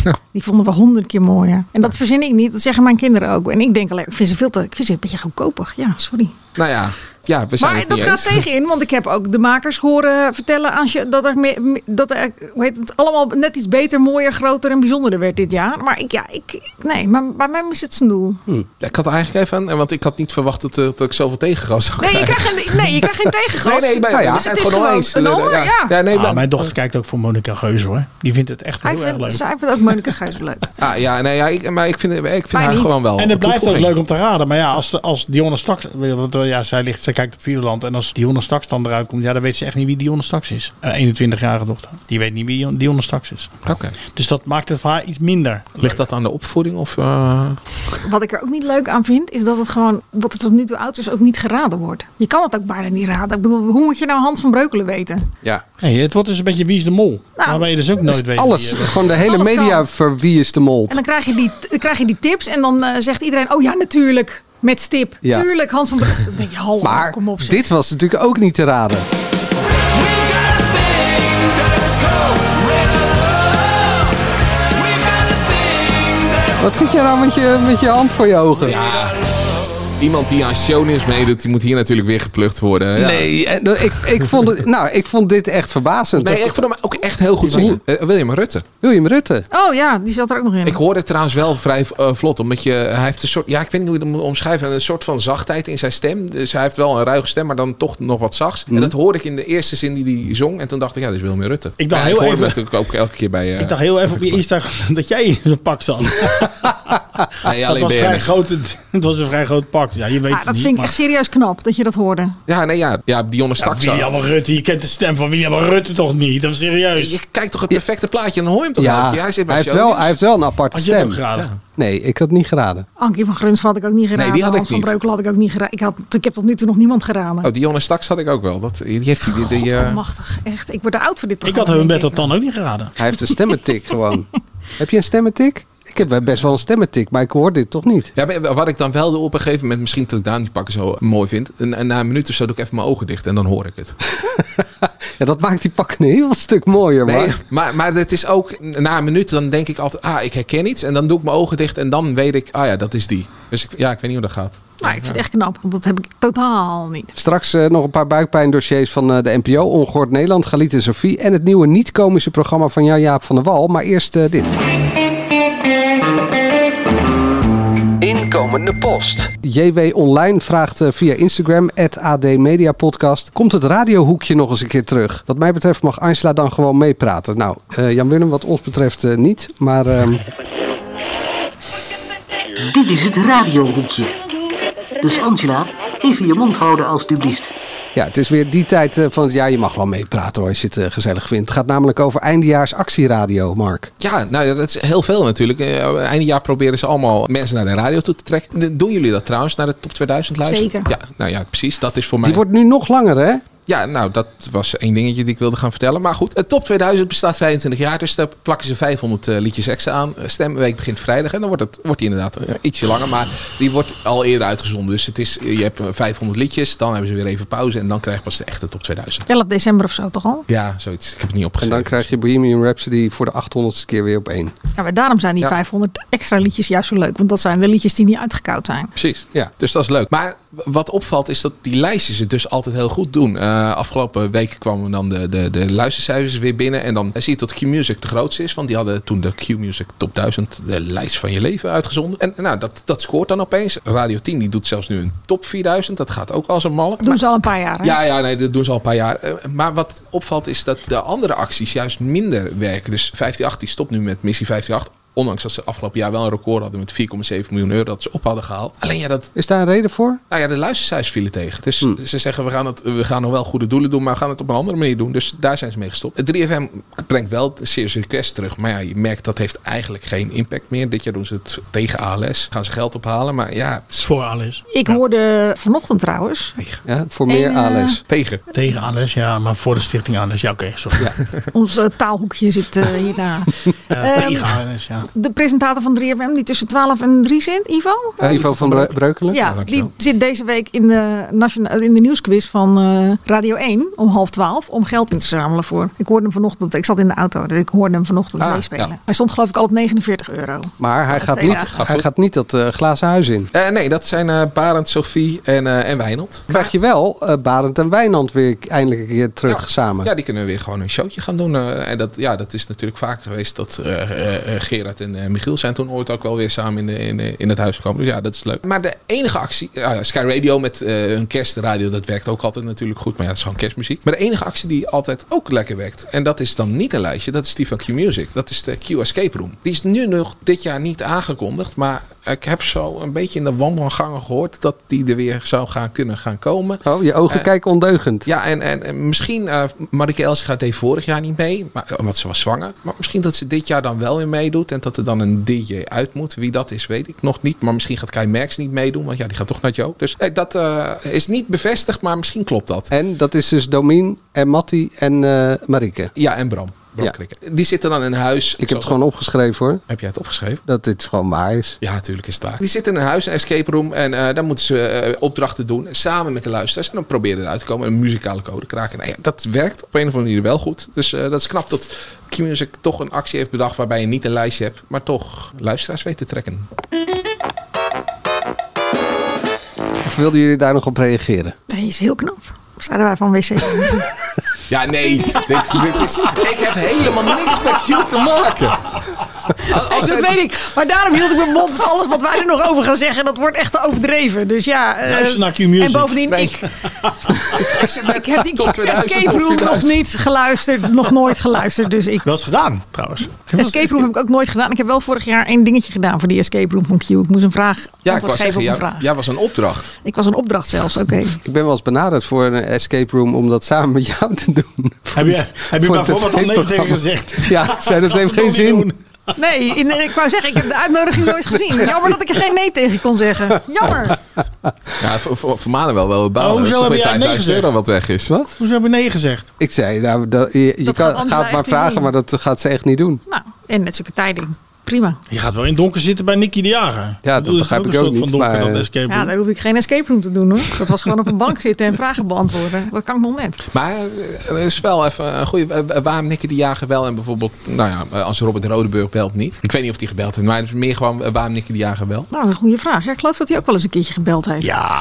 [SPEAKER 3] eh, Die vonden we honderd keer mooier. En dat verzin ik niet, dat zeggen mijn kinderen ook. En ik denk alleen, ik vind ze veel te. Ik vind ze een beetje goedkoper. Ja, sorry.
[SPEAKER 2] nou ja. Ja, we zijn
[SPEAKER 3] Maar
[SPEAKER 2] het niet
[SPEAKER 3] dat gaat
[SPEAKER 2] eens.
[SPEAKER 3] tegenin, want ik heb ook de makers horen vertellen als je, dat er, me- me- dat er hoe heet het, allemaal net iets beter, mooier, groter en bijzonderder werd dit jaar. Maar ik, ja, ik, ik- nee, maar bij mij is het zijn doel.
[SPEAKER 2] Ja, ik had er eigenlijk even aan, want ik had niet verwacht dat, eh, dat ik zoveel tegengas zou
[SPEAKER 3] Nee, je
[SPEAKER 2] krijgen.
[SPEAKER 3] krijgt geen, nee, je krijgt geen tegengas.
[SPEAKER 2] Nee, nee, maar
[SPEAKER 1] Nou ja,
[SPEAKER 2] we zijn
[SPEAKER 3] het
[SPEAKER 2] het
[SPEAKER 3] is
[SPEAKER 2] gewoon
[SPEAKER 3] gewoon
[SPEAKER 2] eens.
[SPEAKER 3] een ander, ja.
[SPEAKER 2] nee,
[SPEAKER 4] Ah,
[SPEAKER 2] dan-
[SPEAKER 4] mijn dochter kijkt ook voor Monica Geus hoor. Die vindt het echt
[SPEAKER 3] Hij
[SPEAKER 4] heel erg
[SPEAKER 3] vindt,
[SPEAKER 4] leuk.
[SPEAKER 3] zij vindt ook Monika Geuze leuk.
[SPEAKER 2] Ah, ja, nee, ja ik, maar ik vind, ik vind
[SPEAKER 3] Mij
[SPEAKER 2] haar
[SPEAKER 3] niet.
[SPEAKER 2] gewoon wel.
[SPEAKER 4] En
[SPEAKER 2] Oh, een
[SPEAKER 4] het blijft ook
[SPEAKER 2] toevoeging.
[SPEAKER 4] leuk om te raden. Maar ja, als, de- als Dionne straks... Want eh, ja, zij, ligt, zij kijkt op Vierland. En als Dionne straks dan eruit komt... Ja, dan weet ze echt niet wie Dionne straks is. Een 21-jarige dochter. Die weet niet wie Dion- Dionne straks is.
[SPEAKER 2] Oké.
[SPEAKER 4] Dus dat maakt het voor haar iets minder.
[SPEAKER 2] Ligt dat aan de opvoeding? Of, eh?
[SPEAKER 3] Wat ik er ook niet leuk aan vind, is dat het gewoon, wat er tot nu toe oud is, ook niet geraden wordt. Je kan het ook bijna niet raden. Ik bedoel, hoe moet je nou Hans van Breukelen weten?
[SPEAKER 1] Ja.
[SPEAKER 4] Hey, het wordt dus een beetje wie is de mol.
[SPEAKER 3] Nou,
[SPEAKER 4] waarbij je dus ook nooit weet
[SPEAKER 1] Alles.
[SPEAKER 4] wie, eh,
[SPEAKER 1] Gewoon de hele
[SPEAKER 3] Alles
[SPEAKER 1] media
[SPEAKER 3] kan.
[SPEAKER 1] voor wie is de mol.
[SPEAKER 3] En dan krijg je die, dan krijg je die tips en dan eh, zegt iedereen, oh ja, natuurlijk. Met stip.
[SPEAKER 1] Ja.
[SPEAKER 3] Tuurlijk, Hans van Breukelen. Dan denk je, hallo,
[SPEAKER 1] Maar
[SPEAKER 3] kom op. zeg.
[SPEAKER 1] dit was natuurlijk ook niet te raden. Wat zit je nou met je, met je hand voor je ogen?
[SPEAKER 2] Iemand die aan shownieuws meedoet, die moet hier natuurlijk weer geplukt worden. Ja.
[SPEAKER 1] Nee, eh, ik, ik, vond het, nou, ik vond dit echt verbazend.
[SPEAKER 2] Nee, ik vond hem ook echt heel goed
[SPEAKER 1] Wie was
[SPEAKER 2] zien. Eh, William Rutte.
[SPEAKER 1] William Rutte.
[SPEAKER 3] Oh ja, die zat er ook nog in.
[SPEAKER 2] Ik hoorde het trouwens wel vrij eh, vlot. Omdat je, hij heeft een soort, ja, ik weet niet hoe je dat moet omschrijven. Een soort van zachtheid in zijn stem. Dus hij heeft wel een ruige stem, maar dan toch nog wat zachts. En dat hoorde ik in de eerste zin die hij zong. En toen dacht ik, ja, dit is William Rutte.
[SPEAKER 4] Ik dacht
[SPEAKER 2] Maar ja,
[SPEAKER 4] heel
[SPEAKER 2] hoorde
[SPEAKER 4] even- [laughs]
[SPEAKER 2] hem natuurlijk ook elke keer bij... eh,
[SPEAKER 4] Ik dacht heel even op je Instagram dat jij in zo'n pak zat.
[SPEAKER 2] Nee,
[SPEAKER 4] dat
[SPEAKER 2] alleen
[SPEAKER 4] was, vrij
[SPEAKER 2] BN'ers.
[SPEAKER 4] groot, het was een vrij groot pak. Ja, je weet
[SPEAKER 3] Ah,
[SPEAKER 4] het
[SPEAKER 3] dat
[SPEAKER 4] niet,
[SPEAKER 3] vind ik
[SPEAKER 4] maar-
[SPEAKER 3] echt serieus knap dat je dat hoorde.
[SPEAKER 2] Ja, nee, ja. Ja, Dionne
[SPEAKER 4] Ja,
[SPEAKER 2] Staks.
[SPEAKER 4] William Rutte, je kent de stem van William Rutte toch niet? Dat is serieus.
[SPEAKER 2] je kijkt toch het perfecte plaatje en dan hoor je hem toch
[SPEAKER 1] Ja,
[SPEAKER 2] elke keer? Hij zit bij
[SPEAKER 1] heeft wel,
[SPEAKER 2] shownieuws.
[SPEAKER 1] hij heeft wel een aparte
[SPEAKER 4] Had je het
[SPEAKER 1] stem.
[SPEAKER 4] ook geraden?
[SPEAKER 1] Nee, ik had niet geraden.
[SPEAKER 3] Ankie van Grunsvat had ik ook niet geraden.
[SPEAKER 2] die had ik
[SPEAKER 3] Hans van
[SPEAKER 2] niet.
[SPEAKER 3] Breukelen had ik ook niet geraden. Ik, had, ik heb tot nu toe nog niemand geraden.
[SPEAKER 2] Oh, Dionne Staks had ik ook wel. Dat, die heeft die, die, die, eh,
[SPEAKER 3] Machtig, echt. Ik word te oud voor dit
[SPEAKER 4] Ik
[SPEAKER 3] programma.
[SPEAKER 4] had hun
[SPEAKER 3] denk
[SPEAKER 4] bed dat dan ook niet geraden.
[SPEAKER 1] Hij heeft een [laughs] stemmetik gewoon. Heb je een stemmetik? Ik heb best wel een stemmetik, maar ik hoor dit toch niet.
[SPEAKER 2] Ja, maar eh, wat ik dan wel op een gegeven moment, misschien dat ik daar niet pakken zo mooi vind. En, en na een minuut of zo doe ik even mijn ogen dicht en dan hoor ik het.
[SPEAKER 1] Ja, dat maakt die pakken een heel stuk mooier.
[SPEAKER 2] Nee,
[SPEAKER 1] Maar
[SPEAKER 2] maar, maar het is ook, na een minuut dan denk ik altijd, ah, ik herken iets. En dan doe ik mijn ogen dicht en dan weet ik, ah ja, dat is die. Dus ik, ja, ik weet niet hoe dat gaat.
[SPEAKER 3] Nou, ik vind het echt knap, want dat heb ik totaal niet.
[SPEAKER 1] straks eh, nog een paar buikpijndossiers van eh, de NPO, Ongehoord Nederland, Galit en Sophie. En het nieuwe niet-komische programma van Jan Jaap van der Wal. Maar eerst eh, dit.
[SPEAKER 7] Inkomende post.
[SPEAKER 1] JW Online vraagt eh, via Instagram, het AD Media Podcast. Komt het radiohoekje nog eens een keer terug? Wat mij betreft mag Angela dan gewoon meepraten. Nou, eh, Jan Willem, wat ons betreft eh, niet. Maar ehm, [laughs]
[SPEAKER 10] Dit is het radiohoekje. Dus Angela, even je mond houden alstublieft.
[SPEAKER 1] ja, het is weer die tijd eh, van het jaar. Je mag wel meepraten hoor, als je het eh, gezellig vindt. Het gaat namelijk over eindejaarsactieradio, Mark.
[SPEAKER 2] Ja, nou ja, dat is heel veel natuurlijk. Eh, Eind jaar proberen ze allemaal mensen naar de radio toe te trekken. De- doen jullie dat trouwens, naar de top 2000 luisteren?
[SPEAKER 3] Zeker.
[SPEAKER 2] Ja, nou ja, precies. Dat is voor mij...
[SPEAKER 1] Die wordt nu nog langer, hè?
[SPEAKER 2] Ja, nou, dat was één dingetje die ik wilde gaan vertellen. Maar goed, het top 2000 bestaat 25 jaar, dus daar plakken ze 500 eh, liedjes extra aan. Eh, Stemweek begint vrijdag en dan wordt, het, wordt die inderdaad eh, ietsje langer, maar die wordt al eerder uitgezonden. Dus het is, eh, je hebt eh, 500 liedjes, dan hebben ze weer even pauze en dan krijg je pas de echte top 2000.
[SPEAKER 3] 11 december of zo toch al?
[SPEAKER 2] Ja, zoiets. Ik heb het niet
[SPEAKER 1] En
[SPEAKER 2] opgeschreven.
[SPEAKER 1] dan krijg je Bohemian Rhapsody voor de 800ste keer weer op één.
[SPEAKER 3] Ja, maar daarom zijn die
[SPEAKER 2] Ja.
[SPEAKER 3] 500 extra liedjes juist zo leuk. Want dat zijn de liedjes die niet uitgekoud zijn.
[SPEAKER 2] Precies.
[SPEAKER 1] Ja.
[SPEAKER 2] Ja. Dus dat is leuk. Maar w- wat opvalt is dat die lijstjes het dus altijd heel goed doen. Eh, afgelopen week kwamen dan de, de, de luistercijfers weer binnen. En dan zie je dat Q-Music de grootste is. Want die hadden toen de Q-Music Top 1000, de lijst van je leven, uitgezonden. En nou, dat, dat scoort dan opeens. Radio 10 die doet zelfs nu een Top 4000. Dat gaat ook als een malle.
[SPEAKER 3] Dat doen ze al een paar jaar. Hè?
[SPEAKER 2] Ja, ja, nee, dat doen ze al een paar jaar. Eh, Maar wat opvalt is dat de andere acties juist minder werken. Dus 158 die stopt nu met missie 158. Ondanks dat ze afgelopen jaar wel een record hadden met 4,7 miljoen euro dat ze op hadden gehaald. Alleen ja, dat,
[SPEAKER 1] Is daar een reden voor?
[SPEAKER 2] nou ja, de luistercijfers vielen tegen. Dus ze zeggen, we gaan, het, we gaan nog wel goede doelen doen, maar we gaan het op een andere manier doen. Dus daar zijn ze mee gestopt. 3FM brengt wel de Serious Request terug. Maar ja, je merkt dat heeft eigenlijk geen impact meer. Dit jaar doen ze het tegen ALS. Gaan ze geld ophalen, maar ja,
[SPEAKER 4] Dat is voor alles.
[SPEAKER 3] Ik hoorde vanochtend trouwens.
[SPEAKER 1] Ja, voor meer
[SPEAKER 3] En, eh,
[SPEAKER 1] ALS.
[SPEAKER 2] dus tegen.
[SPEAKER 4] Tegen alles, ja, maar voor de stichting alles. Ja, oké, sorry.
[SPEAKER 3] Ons eh, taalhoekje zit eh, hierna.
[SPEAKER 4] [laughs] Ja,
[SPEAKER 3] Ehm,
[SPEAKER 4] Eh, tegen alles, ja.
[SPEAKER 3] de presentator van 3FM die tussen 12 en 3 zit, Ivo?
[SPEAKER 1] Eh, Ivo van Bre- Breukelen?
[SPEAKER 3] oh, Ja, die zit deze week in de, nationale, in de nieuwsquiz van eh, Radio 1 om half 12 om geld in te zamelen voor. Ik hoorde hem vanochtend, ik zat in de auto, dus ik hoorde hem vanochtend
[SPEAKER 2] Ah,
[SPEAKER 3] meespelen.
[SPEAKER 2] ja.
[SPEAKER 3] Hij stond geloof ik al op 49 euro.
[SPEAKER 1] Maar hij,
[SPEAKER 3] de
[SPEAKER 1] gaat
[SPEAKER 3] twee
[SPEAKER 1] niet,
[SPEAKER 3] dagen.
[SPEAKER 2] Gaat
[SPEAKER 1] hij
[SPEAKER 2] goed.
[SPEAKER 1] gaat niet dat eh, glazen huis in.
[SPEAKER 2] Eh, nee, dat zijn eh, Barend, Sophie en, eh en Wijnald.
[SPEAKER 1] Krijg je wel eh, Barend en Wijnand weer eindelijk een keer terug
[SPEAKER 2] Ja.
[SPEAKER 1] samen.
[SPEAKER 2] Ja, die kunnen weer gewoon een showtje gaan doen. eh, en dat, ja, dat is natuurlijk vaak geweest dat eh, eh, eh, Gerard en eh, Michiel zijn toen ooit ook wel weer samen in, de- in, eh, in het huis gekomen. Dus ja, dat is leuk. Maar de enige actie, ja, Sky Radio met eh, hun kerstradio, dat werkt ook altijd natuurlijk goed. Maar ja, dat is gewoon kerstmuziek. Maar de enige actie die altijd ook lekker werkt, en dat is dan niet een lijstje, dat is die van Q Music. Dat is de Q Escape Room. Die is nu nog dit jaar niet aangekondigd, maar ik heb zo een beetje in de wandelgangen gehoord dat die er weer zou gaan kunnen gaan komen.
[SPEAKER 1] Oh, je ogen
[SPEAKER 2] Eh,
[SPEAKER 1] kijken ondeugend.
[SPEAKER 2] Ja, en, en, en misschien, eh Marike Elsinga deed vorig jaar niet mee, maar, want ze was zwanger. Maar misschien dat ze dit jaar dan wel weer meedoet en dat er dan een DJ uit moet. Wie dat is, weet ik nog niet. Maar misschien gaat Kai Merks niet meedoen, want ja, die gaat toch naar Joe. Dus eh, dat eh, is niet bevestigd, maar misschien klopt dat.
[SPEAKER 1] En dat is dus Domien en Matti en eh Marieke.
[SPEAKER 2] Ja, en Bram. Bram
[SPEAKER 1] Ja.
[SPEAKER 2] Krikke. Die zitten dan in huis.
[SPEAKER 1] Ik heb het gewoon opgeschreven hoor.
[SPEAKER 2] Heb jij het opgeschreven?
[SPEAKER 1] Dat dit gewoon waar is.
[SPEAKER 2] Ja, natuurlijk is het waar. Die zitten in een huis, een escape room. En eh daar moeten ze eh, opdrachten doen. Samen met de luisteraars. En dan proberen eruit te komen. Een muzikale code kraken. Nou ja, dat werkt op een of andere manier wel goed. Dus eh, dat is knap dat Q-Music toch een actie heeft bedacht. waarbij je niet een lijstje hebt. maar toch luisteraars weet te trekken.
[SPEAKER 1] Of wilden jullie daar nog op reageren?
[SPEAKER 3] Nee, is heel knap. Zeiden wij van
[SPEAKER 2] [laughs]
[SPEAKER 3] WC.
[SPEAKER 2] Ja, nee. dit, dit is, ik heb helemaal niks met Q te maken.
[SPEAKER 3] Als [laughs] dat weet ik. Maar daarom hield ik mijn mond. Want alles wat wij er nog over gaan zeggen, dat wordt echt te overdreven. Dus ja.
[SPEAKER 2] Nou,
[SPEAKER 3] eh,
[SPEAKER 4] Luister naar Q-Music.
[SPEAKER 3] En bovendien,
[SPEAKER 4] Nee.
[SPEAKER 3] ik, ik heb die
[SPEAKER 2] [laughs] Tot 2000
[SPEAKER 3] escape
[SPEAKER 2] of
[SPEAKER 3] room nog
[SPEAKER 2] 4000.
[SPEAKER 3] niet geluisterd. Nog nooit geluisterd. Dus ik
[SPEAKER 4] Wel eens gedaan, trouwens.
[SPEAKER 3] [laughs] Escape Room heb ik ook nooit gedaan. Ik heb wel vorig jaar één dingetje gedaan voor die Escape Room van Q. Ik moest een vraag
[SPEAKER 2] Ja, ik
[SPEAKER 3] antwoord
[SPEAKER 2] was
[SPEAKER 3] geven
[SPEAKER 2] zeggen,
[SPEAKER 3] op een
[SPEAKER 2] jij,
[SPEAKER 3] vraag.
[SPEAKER 2] jij was een opdracht.
[SPEAKER 3] Ik was een opdracht zelfs, oké.
[SPEAKER 1] Ik ben wel eens benaderd voor een escape room om dat samen met jou te doen.
[SPEAKER 4] [laughs] Heb je, heb je
[SPEAKER 1] Voor
[SPEAKER 4] bijvoorbeeld al nee tegen
[SPEAKER 1] tv-programma.
[SPEAKER 4] gezegd?
[SPEAKER 1] [laughs] Ja, zei dat
[SPEAKER 4] Dat
[SPEAKER 1] heeft
[SPEAKER 4] we
[SPEAKER 1] geen
[SPEAKER 4] het nog niet
[SPEAKER 1] zin.
[SPEAKER 3] Nee, in- eh, ik wou zeggen, ik heb de uitnodiging nooit
[SPEAKER 2] [laughs]
[SPEAKER 3] gezien. Jammer dat ik er geen nee tegen kon zeggen. Jammer.
[SPEAKER 2] Ja, voor, voor, voor Manuel wel wel bouwen.
[SPEAKER 4] Oh,
[SPEAKER 2] dat is
[SPEAKER 4] hoezo
[SPEAKER 2] toch
[SPEAKER 4] heb
[SPEAKER 2] weer
[SPEAKER 4] jij nee
[SPEAKER 2] 5000 euro
[SPEAKER 4] gezegd?
[SPEAKER 2] wat weg is.
[SPEAKER 1] Wat?
[SPEAKER 4] Hoezo heb je nee gezegd?
[SPEAKER 1] Ik zei, nou, dat, je, je
[SPEAKER 3] Dat
[SPEAKER 1] kan,
[SPEAKER 3] gaat
[SPEAKER 1] gaat,
[SPEAKER 3] Angela echt
[SPEAKER 1] maar
[SPEAKER 3] niet
[SPEAKER 1] vragen,
[SPEAKER 3] doen.
[SPEAKER 1] maar dat gaat ze echt niet doen.
[SPEAKER 3] Nou, en net zulke tijding. Prima.
[SPEAKER 4] Je gaat wel in het donker zitten bij Nicky de Jager.
[SPEAKER 1] dat
[SPEAKER 4] bedoel, is
[SPEAKER 1] begrijp ik
[SPEAKER 4] ook een
[SPEAKER 1] ook
[SPEAKER 4] soort
[SPEAKER 1] niet,
[SPEAKER 4] Van donker,
[SPEAKER 1] maar,
[SPEAKER 4] dat escape
[SPEAKER 3] Ja,
[SPEAKER 4] room.
[SPEAKER 3] daar hoef ik geen escape room te doen hoor. Dat was gewoon op een bank zitten en vragen beantwoorden. Dat kan ik nog net.
[SPEAKER 2] Maar eh, er is wel even een goede. eh, Waarom Nicky de Jager wel en bijvoorbeeld, nou ja, eh, als Robert Rodeburg belt niet. Ik weet niet of hij gebeld heeft, maar het is meer gewoon eh, waarom Nicky de Jager wel.
[SPEAKER 3] Nou, een goede vraag. Ja, ik geloof dat hij ook wel eens een keertje gebeld heeft.
[SPEAKER 4] ja,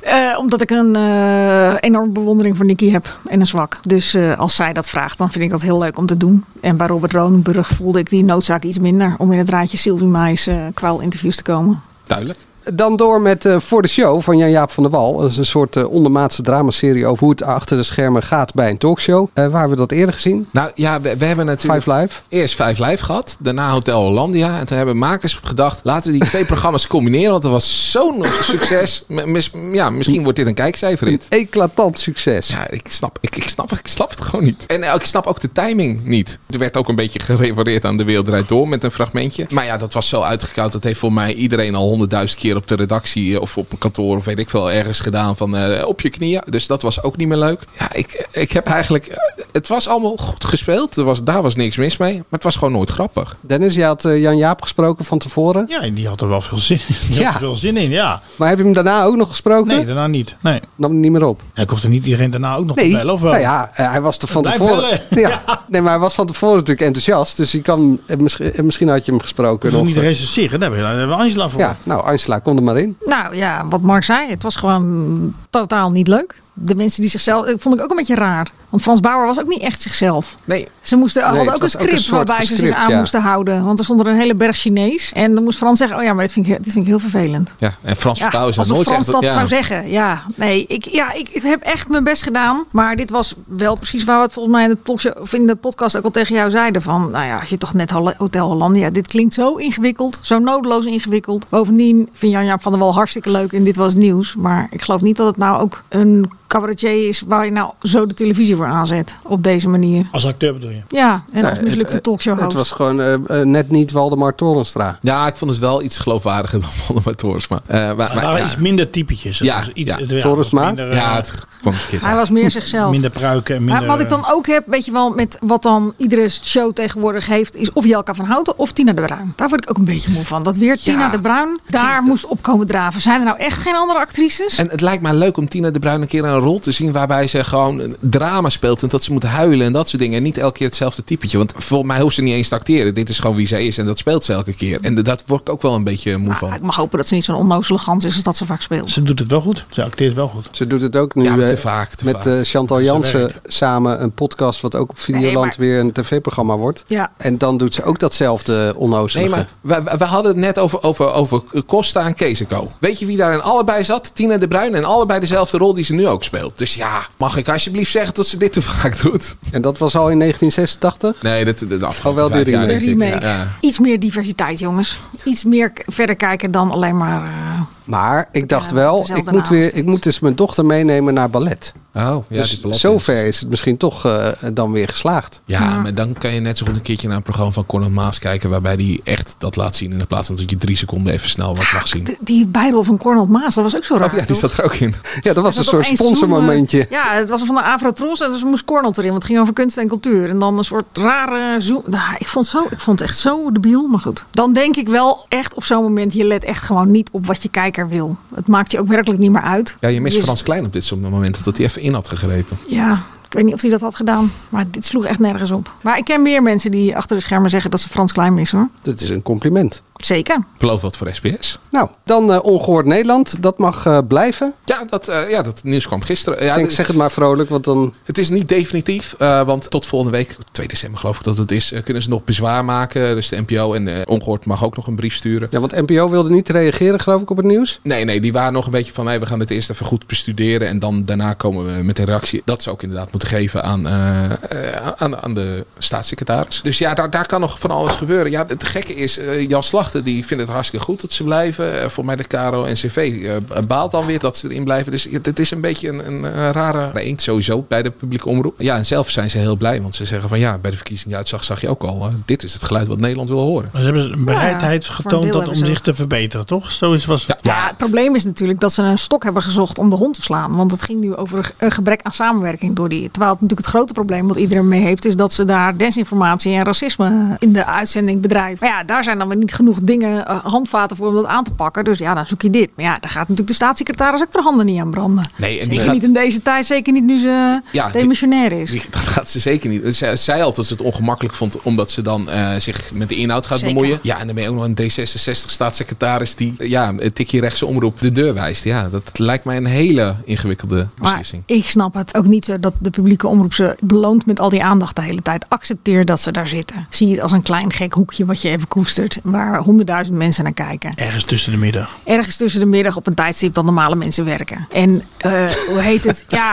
[SPEAKER 3] Eh, omdat ik een eh, enorme bewondering voor Nicky heb en een zwak. Dus eh, als zij dat vraagt, dan vind ik dat heel leuk om te doen. En bij Robert Ronenburg voelde ik die noodzaak iets minder om in het raadje Sylvie Maïs eh kwaal interviews te komen.
[SPEAKER 2] Duidelijk.
[SPEAKER 1] Dan door met eh, Voor de Show van Jan-Jaap van der Wal. Dat is een soort eh, ondermaatse dramaserie over hoe het achter de schermen gaat bij een talkshow. Eh, waar hebben we dat eerder gezien?
[SPEAKER 2] Nou ja, we, we hebben natuurlijk
[SPEAKER 1] Five Live.
[SPEAKER 2] eerst Vijf Live gehad, daarna Hotel Hollandia. En toen hebben makers gedacht, laten we die [laughs] twee programma's combineren. Want dat was zo'n [laughs] succes. M- mis- ja, misschien wordt dit een kijkcijferrit.
[SPEAKER 1] Een eclatant succes.
[SPEAKER 2] Ja, ik snap, ik, ik, snap, ik snap het gewoon niet. En eh, ik snap ook de timing niet. Er werd ook een beetje gerefereerd aan De Wereld Draait Door met een fragmentje. Maar ja, dat was zo uitgekoud. Dat heeft voor mij iedereen al honderdduizend keer op de redactie eh, of op een kantoor of weet ik veel ergens gedaan van eh, op je knieën. Dus dat was ook niet meer leuk. Ja, ik, ik heb eigenlijk... eh, Het was allemaal goed gespeeld. Er was, daar was niks mis mee. Maar het was gewoon nooit grappig.
[SPEAKER 1] Dennis, jij had eh, Jan-Jaap gesproken van tevoren.
[SPEAKER 4] ja, en die had er wel veel zin in. Die
[SPEAKER 1] Ja.
[SPEAKER 4] had er wel zin in, ja.
[SPEAKER 1] Maar heb je hem daarna ook nog gesproken?
[SPEAKER 4] Nee, daarna niet. Nee.
[SPEAKER 1] Nam hem niet meer op.
[SPEAKER 4] Ja, ik hoefde niet iedereen daarna ook nog
[SPEAKER 1] Nee,
[SPEAKER 4] te bellen, of wel?
[SPEAKER 1] nou ja, eh, hij was er van
[SPEAKER 4] Blijf
[SPEAKER 1] tevoren.
[SPEAKER 4] bellen.
[SPEAKER 1] [laughs] Ja. Nee, maar hij was van tevoren natuurlijk enthousiast. Dus je kan, eh, misschien, eh, misschien had je hem gesproken.
[SPEAKER 4] Ik hoefde
[SPEAKER 1] Nog. eh.
[SPEAKER 4] niet te recenseren, daar hebben we- daar hebben we Angela voor.
[SPEAKER 1] Ja, nou Angela, kom er maar in.
[SPEAKER 3] Nou ja, wat Mark zei, het was gewoon totaal niet leuk. De mensen die zichzelf, eh, vond ik ook een beetje raar. Want Frans Bauer was ook niet echt zichzelf.
[SPEAKER 2] Nee,
[SPEAKER 3] Ze moesten,
[SPEAKER 1] Nee,
[SPEAKER 3] hadden
[SPEAKER 1] het
[SPEAKER 3] ook een
[SPEAKER 1] was ook
[SPEAKER 3] script
[SPEAKER 1] een soort
[SPEAKER 3] waarbij ze zich
[SPEAKER 1] script,
[SPEAKER 3] aan
[SPEAKER 1] ja.
[SPEAKER 3] moesten houden. Want er stond er een hele berg Chinees. En dan moest Frans zeggen, oh ja, maar dit vind ik, dit vind ik heel vervelend.
[SPEAKER 2] Ja, en Frans
[SPEAKER 3] Ja,
[SPEAKER 2] Vertouwen
[SPEAKER 3] alsof
[SPEAKER 2] zou nooit
[SPEAKER 3] Frans
[SPEAKER 2] zeggen
[SPEAKER 3] dat
[SPEAKER 2] ja.
[SPEAKER 3] zou zeggen. Ja, nee, ik, ja, ik, ik heb echt mijn best gedaan. Maar dit was wel precies waar we het volgens mij in de, talkshow- of in de podcast ook al tegen jou zeiden. Van, nou ja, als je toch net Holle- Hotel Hollandia. Dit klinkt zo ingewikkeld. Zo noodloos ingewikkeld. Bovendien vind Jan-Jaap van der Wal hartstikke leuk. En dit was nieuws. Maar ik geloof niet dat het nou ook een cabaretier is waar je nou zo de televisie voor aanzet. Op deze manier.
[SPEAKER 4] Als acteur bedoel je?
[SPEAKER 3] Ja, en
[SPEAKER 1] Nou,
[SPEAKER 3] als mislukte
[SPEAKER 1] het-
[SPEAKER 3] talkshow
[SPEAKER 1] Het was gewoon eh, eh, net niet Waldemar Torenstra.
[SPEAKER 2] Ja, ik vond het wel iets geloofwaardiger [laughs] dan Waldemar Torsma. Eh, maar, maar,
[SPEAKER 4] Maar daar
[SPEAKER 2] ja.
[SPEAKER 4] is minder typetjes.
[SPEAKER 2] Ja,
[SPEAKER 4] Dus iets,
[SPEAKER 2] ja.
[SPEAKER 4] het- ja,
[SPEAKER 1] Torresma?
[SPEAKER 4] was Minder, eh,
[SPEAKER 2] Ja, het kwam verkeerd
[SPEAKER 3] Hij
[SPEAKER 2] uit.
[SPEAKER 3] was meer zichzelf.
[SPEAKER 4] minder pruiken en minder...
[SPEAKER 3] Maar wat ik dan ook heb, weet je wel, met wat dan iedere show tegenwoordig heeft, is of Jelka van Houten of Tina de Bruin. Daar word ik ook een beetje moe van. Dat weer Tina de Bruin daar moest opkomen draven. Zijn er nou echt geen andere actrices?
[SPEAKER 2] En het lijkt mij leuk om Tina de Bruin een keer een rol te zien waarbij ze gewoon een drama speelt en dat ze moet huilen en dat soort dingen. En niet elke keer hetzelfde typetje. Want volgens mij hoeft ze niet eens te acteren. Dit is gewoon wie zij is en dat speelt ze elke keer. En dat word ik ook wel een beetje moe
[SPEAKER 3] Nou, ik
[SPEAKER 2] van.
[SPEAKER 3] mag hopen dat ze niet zo'n onnozele gans is als dat ze vaak speelt.
[SPEAKER 4] eh, Ze doet het wel goed. Ze acteert wel goed.
[SPEAKER 1] Ze doet het ook nu
[SPEAKER 2] Ja, maar te
[SPEAKER 1] eh,
[SPEAKER 2] vaak, te
[SPEAKER 1] met
[SPEAKER 2] vaak.
[SPEAKER 1] eh, Chantal
[SPEAKER 4] haar
[SPEAKER 1] Jansen
[SPEAKER 4] werk.
[SPEAKER 1] samen een podcast... wat ook op Videoland
[SPEAKER 3] Nee, maar-
[SPEAKER 1] weer een tv-programma wordt.
[SPEAKER 3] Ja.
[SPEAKER 1] En dan doet ze ook datzelfde onnozelige.
[SPEAKER 2] Nee, maar we, we- we hadden het net over, over, over Costa en Kezico. Weet je wie daar in allebei zat? Tina de Bruin en allebei dezelfde rol die ze nu ook speelt. Dus ja, mag ik alsjeblieft zeggen dat ze dit te vaak doet?
[SPEAKER 1] En dat was al in 1986?
[SPEAKER 2] Nee, dat, dat
[SPEAKER 1] Oh, wel
[SPEAKER 2] afgelopen
[SPEAKER 1] de
[SPEAKER 2] vijf jaar,
[SPEAKER 1] remake.
[SPEAKER 2] denk
[SPEAKER 3] De
[SPEAKER 2] ik.
[SPEAKER 3] remake.
[SPEAKER 2] Ja.
[SPEAKER 3] Iets meer diversiteit, jongens. Iets meer k- verder kijken dan alleen maar. eh,
[SPEAKER 1] Maar ik dacht
[SPEAKER 3] Ja,
[SPEAKER 1] wel,
[SPEAKER 3] dezelfde
[SPEAKER 1] ik moet,
[SPEAKER 3] naam.
[SPEAKER 1] weer, ik moet dus mijn dochter meenemen naar ballet.
[SPEAKER 2] Oh, ja,
[SPEAKER 1] dus
[SPEAKER 2] die platte.
[SPEAKER 1] zover is het misschien toch eh, dan weer geslaagd.
[SPEAKER 2] Ja, maar dan kan je net zo goed een keertje naar een programma van Conor Maas kijken... waarbij die echt dat laat zien in de plaats van dat je drie seconden even snel wat mag zien.
[SPEAKER 3] d- die bijrol van Cornel Maas, dat was ook zo raar.
[SPEAKER 2] Oh ja, die
[SPEAKER 3] toch?
[SPEAKER 2] zat er ook in.
[SPEAKER 1] Ja, dat was een
[SPEAKER 3] Dat
[SPEAKER 1] soort
[SPEAKER 3] opeens
[SPEAKER 1] sponsormomentje.
[SPEAKER 3] zoomen. Ja, het was van de Avrotros en dus moest Cornel erin. Want het ging over kunst en cultuur. En dan een soort rare zoom. Nou, ik, vond zo, ik vond het echt zo debiel. Maar goed, dan denk ik wel echt op zo'n moment... je let echt gewoon niet op wat je kijker wil. Het maakt je ook werkelijk niet meer uit.
[SPEAKER 2] Ja, je mist
[SPEAKER 3] Dus-
[SPEAKER 2] Frans Klein op dit soort moment dat hij even in had gegrepen.
[SPEAKER 3] Ja, ik weet niet of hij dat had gedaan. Maar dit sloeg echt nergens op. Maar ik ken meer mensen die achter de schermen zeggen... dat ze Frans Klein missen hoor.
[SPEAKER 1] Dat is een compliment.
[SPEAKER 3] Zeker.
[SPEAKER 2] Beloof wat voor SBS.
[SPEAKER 1] Nou, dan eh, Ongehoord Nederland. Dat mag eh, blijven.
[SPEAKER 2] Ja dat, eh, ja, dat nieuws kwam gisteren. Ja,
[SPEAKER 1] Ik denk,
[SPEAKER 2] d-
[SPEAKER 1] zeg het maar vrolijk, want dan...
[SPEAKER 2] Het is niet definitief, eh, want tot volgende week, 2 december geloof ik dat het is, eh, kunnen ze nog bezwaar maken. Dus de NPO en eh, Ongehoord mag ook nog een brief sturen.
[SPEAKER 1] Ja, want NPO wilde niet reageren, geloof ik, op het nieuws.
[SPEAKER 2] Nee, nee, die waren nog een beetje van, nee, we gaan dit eerst even goed bestuderen en dan daarna komen we met een reactie. Dat zou ik inderdaad moeten geven aan, eh, eh, aan, aan de staatssecretaris. Dus ja, daar, daar kan nog van alles gebeuren. Ja, het gekke is, eh, Jan Slachter die vindt het hartstikke goed dat ze blijven. Eh, voor mij de Caro en CV eh, baalt dan weer dat ze erin blijven. Dus het, het is een beetje een, een, eh, rare eend sowieso bij de publieke omroep. Ja, en zelf zijn ze heel blij, want ze zeggen van ja, bij de verkiezingsuitslag zag je ook al, eh, dit is het geluid wat Nederland wil horen.
[SPEAKER 4] Maar ze hebben een bereidheid
[SPEAKER 3] voor een
[SPEAKER 4] getoond
[SPEAKER 3] deel
[SPEAKER 4] dat om
[SPEAKER 3] hebben ze
[SPEAKER 4] zich te verbeteren, toch? Zoiets was het.
[SPEAKER 3] Ja, het probleem is natuurlijk dat ze een stok hebben gezocht om de hond te slaan. Want het ging nu over een gebrek aan samenwerking door die. Terwijl het natuurlijk het grote probleem wat iedereen mee heeft, is dat ze daar desinformatie en racisme in de uitzending bedrijven. Maar ja, daar zijn dan weer niet genoeg dingen, eh, handvaten voor om dat aan te pakken. Dus ja, dan zoek je dit. Maar ja, daar gaat natuurlijk de staatssecretaris ook de handen niet aan branden.
[SPEAKER 2] Nee, en
[SPEAKER 3] Zeker niet in deze tijd, zeker niet nu ze
[SPEAKER 2] Ja, die-
[SPEAKER 3] demissionair is.
[SPEAKER 2] Die- [laughs] Dat gaat ze zeker niet. Zij, zij altijd ze het ongemakkelijk vond omdat ze dan eh, zich met de inhoud gaat
[SPEAKER 3] Zeker.
[SPEAKER 2] bemoeien. Ja, en dan ben je ook nog een D66-staatssecretaris die eh, ja, een tikje rechtse omroep de deur wijst. Ja, dat lijkt mij een hele ingewikkelde
[SPEAKER 3] Maar
[SPEAKER 2] beslissing.
[SPEAKER 3] ik snap het ook niet zo dat de publieke omroep ze beloont met al die aandacht de hele tijd. Accepteer dat ze daar zitten. Zie het als een klein gek hoekje wat je even koestert. Waar honderdduizend mensen naar kijken.
[SPEAKER 4] Ergens tussen de middag.
[SPEAKER 3] Ergens tussen de middag op een tijdstip dan normale mensen werken. En eh, hoe heet het? Ja,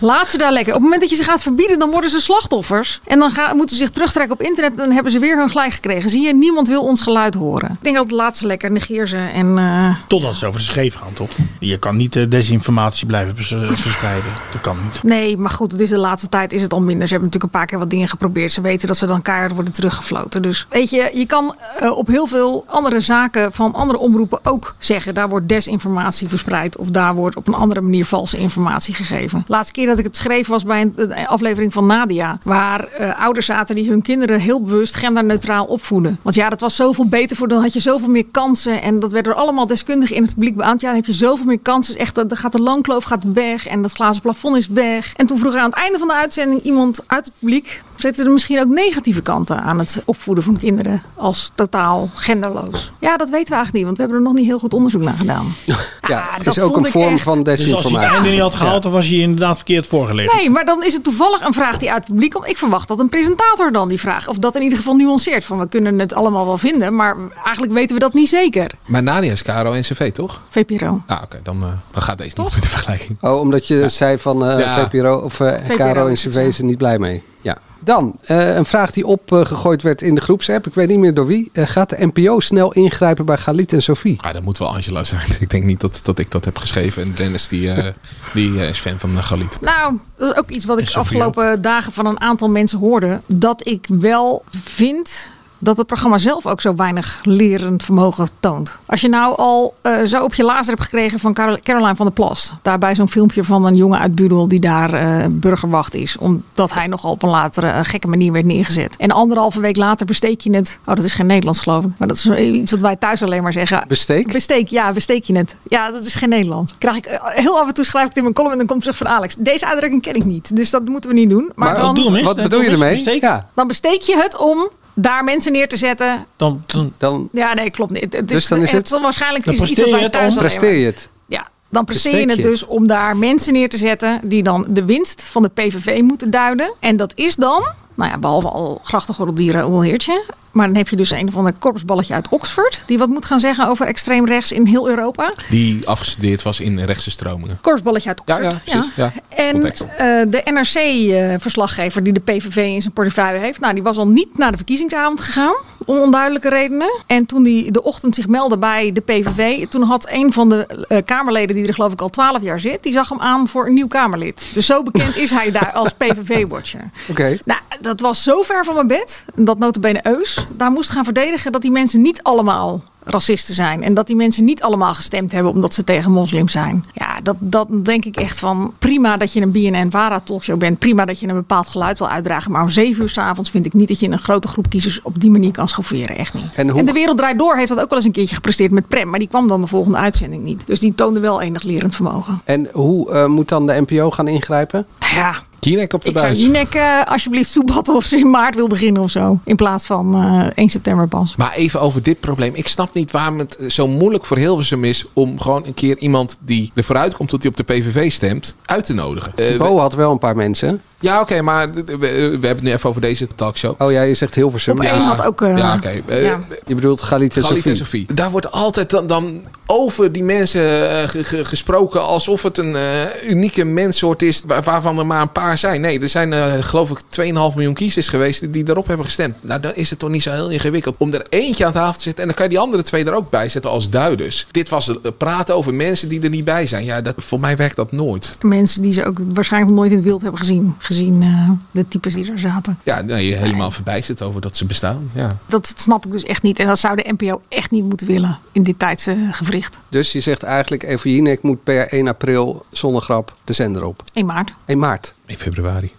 [SPEAKER 3] laat ze daar lekker. Op het moment dat je ze gaat verbieden, dan worden ze slachtoffers. En dan gaan, moeten ze zich terugtrekken op internet. Dan hebben ze weer hun gelijk gekregen. Zie je, niemand wil ons geluid horen. Ik denk altijd laat ze lekker, negeer ze. En eh,
[SPEAKER 4] Totdat ze over de scheef gaan, toch? Je kan niet eh, desinformatie blijven vers- eh, verspreiden. Dat kan niet.
[SPEAKER 3] Nee, maar goed, het is de laatste tijd is het al minder. Ze hebben natuurlijk een paar keer wat dingen geprobeerd. Ze weten dat ze dan keihard worden teruggefloten. Dus weet je, je kan eh, op heel veel andere zaken van andere omroepen ook zeggen... daar wordt desinformatie verspreid of daar wordt op een andere manier valse informatie gegeven. Laatste keer dat ik het schreef was bij een, een aflevering van Nadia... waar eh, ouders zaten die hun kinderen heel bewust genderneutraal opvoeden. Want ja, dat was zoveel beter voor, dan had je zoveel meer kansen... en dat werd er allemaal deskundigen in het publiek beaamd. Ja, dan heb je zoveel meer kansen. Echt, dan gaat de loonkloof gaat weg en dat glazen plafond is weg. En toen vroeg er aan het einde van de uitzending iemand uit het publiek... zitten er misschien ook negatieve kanten aan het opvoeden van kinderen... als totaal genderloos? Ja, dat weten we eigenlijk niet, want we hebben er nog niet heel goed onderzoek naar gedaan.
[SPEAKER 1] Ja, het
[SPEAKER 3] Ah, dat
[SPEAKER 1] is ook
[SPEAKER 3] vond
[SPEAKER 1] een
[SPEAKER 3] ik
[SPEAKER 1] vorm
[SPEAKER 3] echt.
[SPEAKER 1] van
[SPEAKER 4] Dus als
[SPEAKER 1] desinformatie.
[SPEAKER 4] je het einde niet had gehaald, dan was je inderdaad verkeerd voorgelegd.
[SPEAKER 3] Nee, maar dan is het toevallig een vraag die uit het publiek komt. Ik verwacht dat een presentator dan die vraag... of dat in ieder geval nuanceert van we kunnen het allemaal wel vinden... maar eigenlijk weten we dat niet zeker.
[SPEAKER 2] Maar Nadia is Caro en CV, toch?
[SPEAKER 3] VPRO.
[SPEAKER 2] Ah, oké, dan, eh, dan gaat deze toch in de vergelijking.
[SPEAKER 1] Oh, omdat je zei van eh
[SPEAKER 2] Ja.
[SPEAKER 1] VPRO of eh
[SPEAKER 3] VPRO
[SPEAKER 1] KRO en
[SPEAKER 3] is het,
[SPEAKER 1] CV is er niet blij mee. Ja. Dan eh, een vraag die opgegooid werd in de groepsapp. Ik weet niet meer door wie. Eh, gaat de NPO snel ingrijpen bij Galit en Sophie?
[SPEAKER 2] Ah, dat moet wel Angela zijn. [laughs] Ik denk niet dat, dat ik dat heb geschreven. En Dennis die, eh, die eh, is fan van eh, Galit.
[SPEAKER 3] Nou, dat is ook iets wat ik de
[SPEAKER 2] Sophie
[SPEAKER 3] afgelopen dagen van een aantal mensen hoorde. Dat ik wel vind dat het programma zelf ook zo weinig lerend vermogen toont. Als je nou al eh, zo op je lazer hebt gekregen van Carol- Caroline van der Plas. Daarbij zo'n filmpje van een jongen uit Budel die daar eh, burgerwacht is. Omdat hij nogal op een latere eh, gekke manier werd neergezet. En anderhalve week later besteek je het... Oh, dat is geen Nederlands geloof ik. Maar dat is iets wat wij thuis alleen maar zeggen.
[SPEAKER 1] Besteek?
[SPEAKER 3] Besteek, ja, besteek je het. Ja, dat is geen Nederland. Krijg ik, eh, heel af en toe schrijf ik het in mijn column en dan komt terug van Alex. Deze uitdrukking ken ik niet, dus dat moeten we niet doen. Maar, dan,
[SPEAKER 4] doe hem eens.
[SPEAKER 1] Wat
[SPEAKER 4] Nee,
[SPEAKER 1] bedoel je
[SPEAKER 4] doe hem
[SPEAKER 1] ermee?
[SPEAKER 4] eens. Besteek.
[SPEAKER 1] Ja,
[SPEAKER 3] dan besteek je het om daar mensen neer te zetten.
[SPEAKER 4] Dan, dan,
[SPEAKER 1] dan
[SPEAKER 3] Ja, nee, klopt niet. Het is,
[SPEAKER 1] Dus dan is het-
[SPEAKER 3] zal waarschijnlijk
[SPEAKER 4] Dan
[SPEAKER 3] is iets
[SPEAKER 4] presteer
[SPEAKER 3] dat
[SPEAKER 4] je
[SPEAKER 3] wij
[SPEAKER 4] het
[SPEAKER 3] thuis
[SPEAKER 4] om-
[SPEAKER 3] alleen maar-
[SPEAKER 1] presteer je het.
[SPEAKER 3] ja, dan presteer je
[SPEAKER 1] Besteek
[SPEAKER 3] het
[SPEAKER 1] je.
[SPEAKER 3] dus om daar mensen neer te zetten die dan de winst van de PVV moeten duiden. En dat is dan, nou ja, behalve al grachtengordeldieren, een heertje. Maar dan heb je dus een of ander korpsballetje uit Oxford. Die wat moet gaan zeggen over extreem rechts in heel Europa.
[SPEAKER 2] Die afgestudeerd was in rechtse stromingen.
[SPEAKER 3] Korfballetje uit Oxford.
[SPEAKER 2] Ja, ja, precies. Ja,
[SPEAKER 3] En
[SPEAKER 2] context.
[SPEAKER 3] eh, de NRC-verslaggever die de PVV in zijn portefeuille heeft... Nou, die was al niet naar de verkiezingsavond gegaan. Om onduidelijke redenen. En toen die de ochtend zich meldde bij de PVV... toen had een van de eh, Kamerleden, die er geloof ik al twaalf jaar zit... die zag hem aan voor een nieuw Kamerlid. Dus zo bekend is hij daar als PVV-watcher.
[SPEAKER 1] Oké.
[SPEAKER 3] Nou, dat was zo ver van mijn bed. Dat notabene Eus daar moest gaan verdedigen dat die mensen niet allemaal racisten zijn. En dat die mensen niet allemaal gestemd hebben omdat ze tegen moslims zijn. Ja, dat, dat denk ik echt van prima dat je een BNN-Vara talkshow bent. Prima dat je een bepaald geluid wil uitdragen. Maar om zeven uur s'avonds vind ik niet dat je een grote groep kiezers op die manier kan schofferen. Echt niet.
[SPEAKER 1] En hoe-
[SPEAKER 3] De Wereld Draait Door heeft dat ook wel eens een keertje gepresteerd met Prem. Maar die kwam dan de volgende uitzending niet. Dus die toonde wel enig lerend vermogen.
[SPEAKER 1] En hoe eh, moet dan de NPO gaan ingrijpen?
[SPEAKER 3] Ja,
[SPEAKER 2] Jinek op de
[SPEAKER 3] Ik zou
[SPEAKER 2] buis.
[SPEAKER 3] Jinek eh, alsjeblieft soebatten of ze in maart wil beginnen of zo. In plaats van eh 1 september pas.
[SPEAKER 2] Maar even over dit probleem. Ik snap niet waarom het zo moeilijk voor Hilversum is om gewoon een keer iemand die er vooruit komt dat hij op de PVV stemt, uit te nodigen. Eh,
[SPEAKER 1] Bo had wel een paar mensen.
[SPEAKER 2] Ja, oké, maar we, eh, we hebben het nu even over deze talkshow.
[SPEAKER 1] Oh ja, je zegt Hilversum.
[SPEAKER 3] Op één had ook, eh,
[SPEAKER 2] ja, oké. Eh,
[SPEAKER 3] ja.
[SPEAKER 1] Je bedoelt Galit en
[SPEAKER 2] Galit en
[SPEAKER 1] Sofie.
[SPEAKER 2] Sophie. Daar wordt altijd dan, dan over die mensen eh, ge- ge- gesproken alsof het een eh, unieke menssoort is waar- waarvan er maar een paar zijn. Nee, er zijn eh, geloof ik 2,5 miljoen kiezers geweest die daarop hebben gestemd. Nou, dan is het toch niet zo heel ingewikkeld om er eentje aan tafel te zetten en dan kan je die andere twee er ook bij zetten als duiders. Dit was het praten over mensen die er niet bij zijn. Ja, dat, voor mij werkt dat nooit.
[SPEAKER 3] Mensen die ze ook waarschijnlijk nog nooit in het wild hebben gezien. Gezien eh, de types die er zaten.
[SPEAKER 2] Ja, nee, je helemaal verbijsterd over dat ze bestaan. Ja.
[SPEAKER 3] Dat snap ik dus echt niet. En dat zou de NPO echt niet moeten willen in dit tijdse gewricht.
[SPEAKER 1] Dus je zegt eigenlijk, Evo Jinek moet per 1 april zonder grap de zender op.
[SPEAKER 3] 1 maart.
[SPEAKER 1] 1 maart.
[SPEAKER 2] In februari.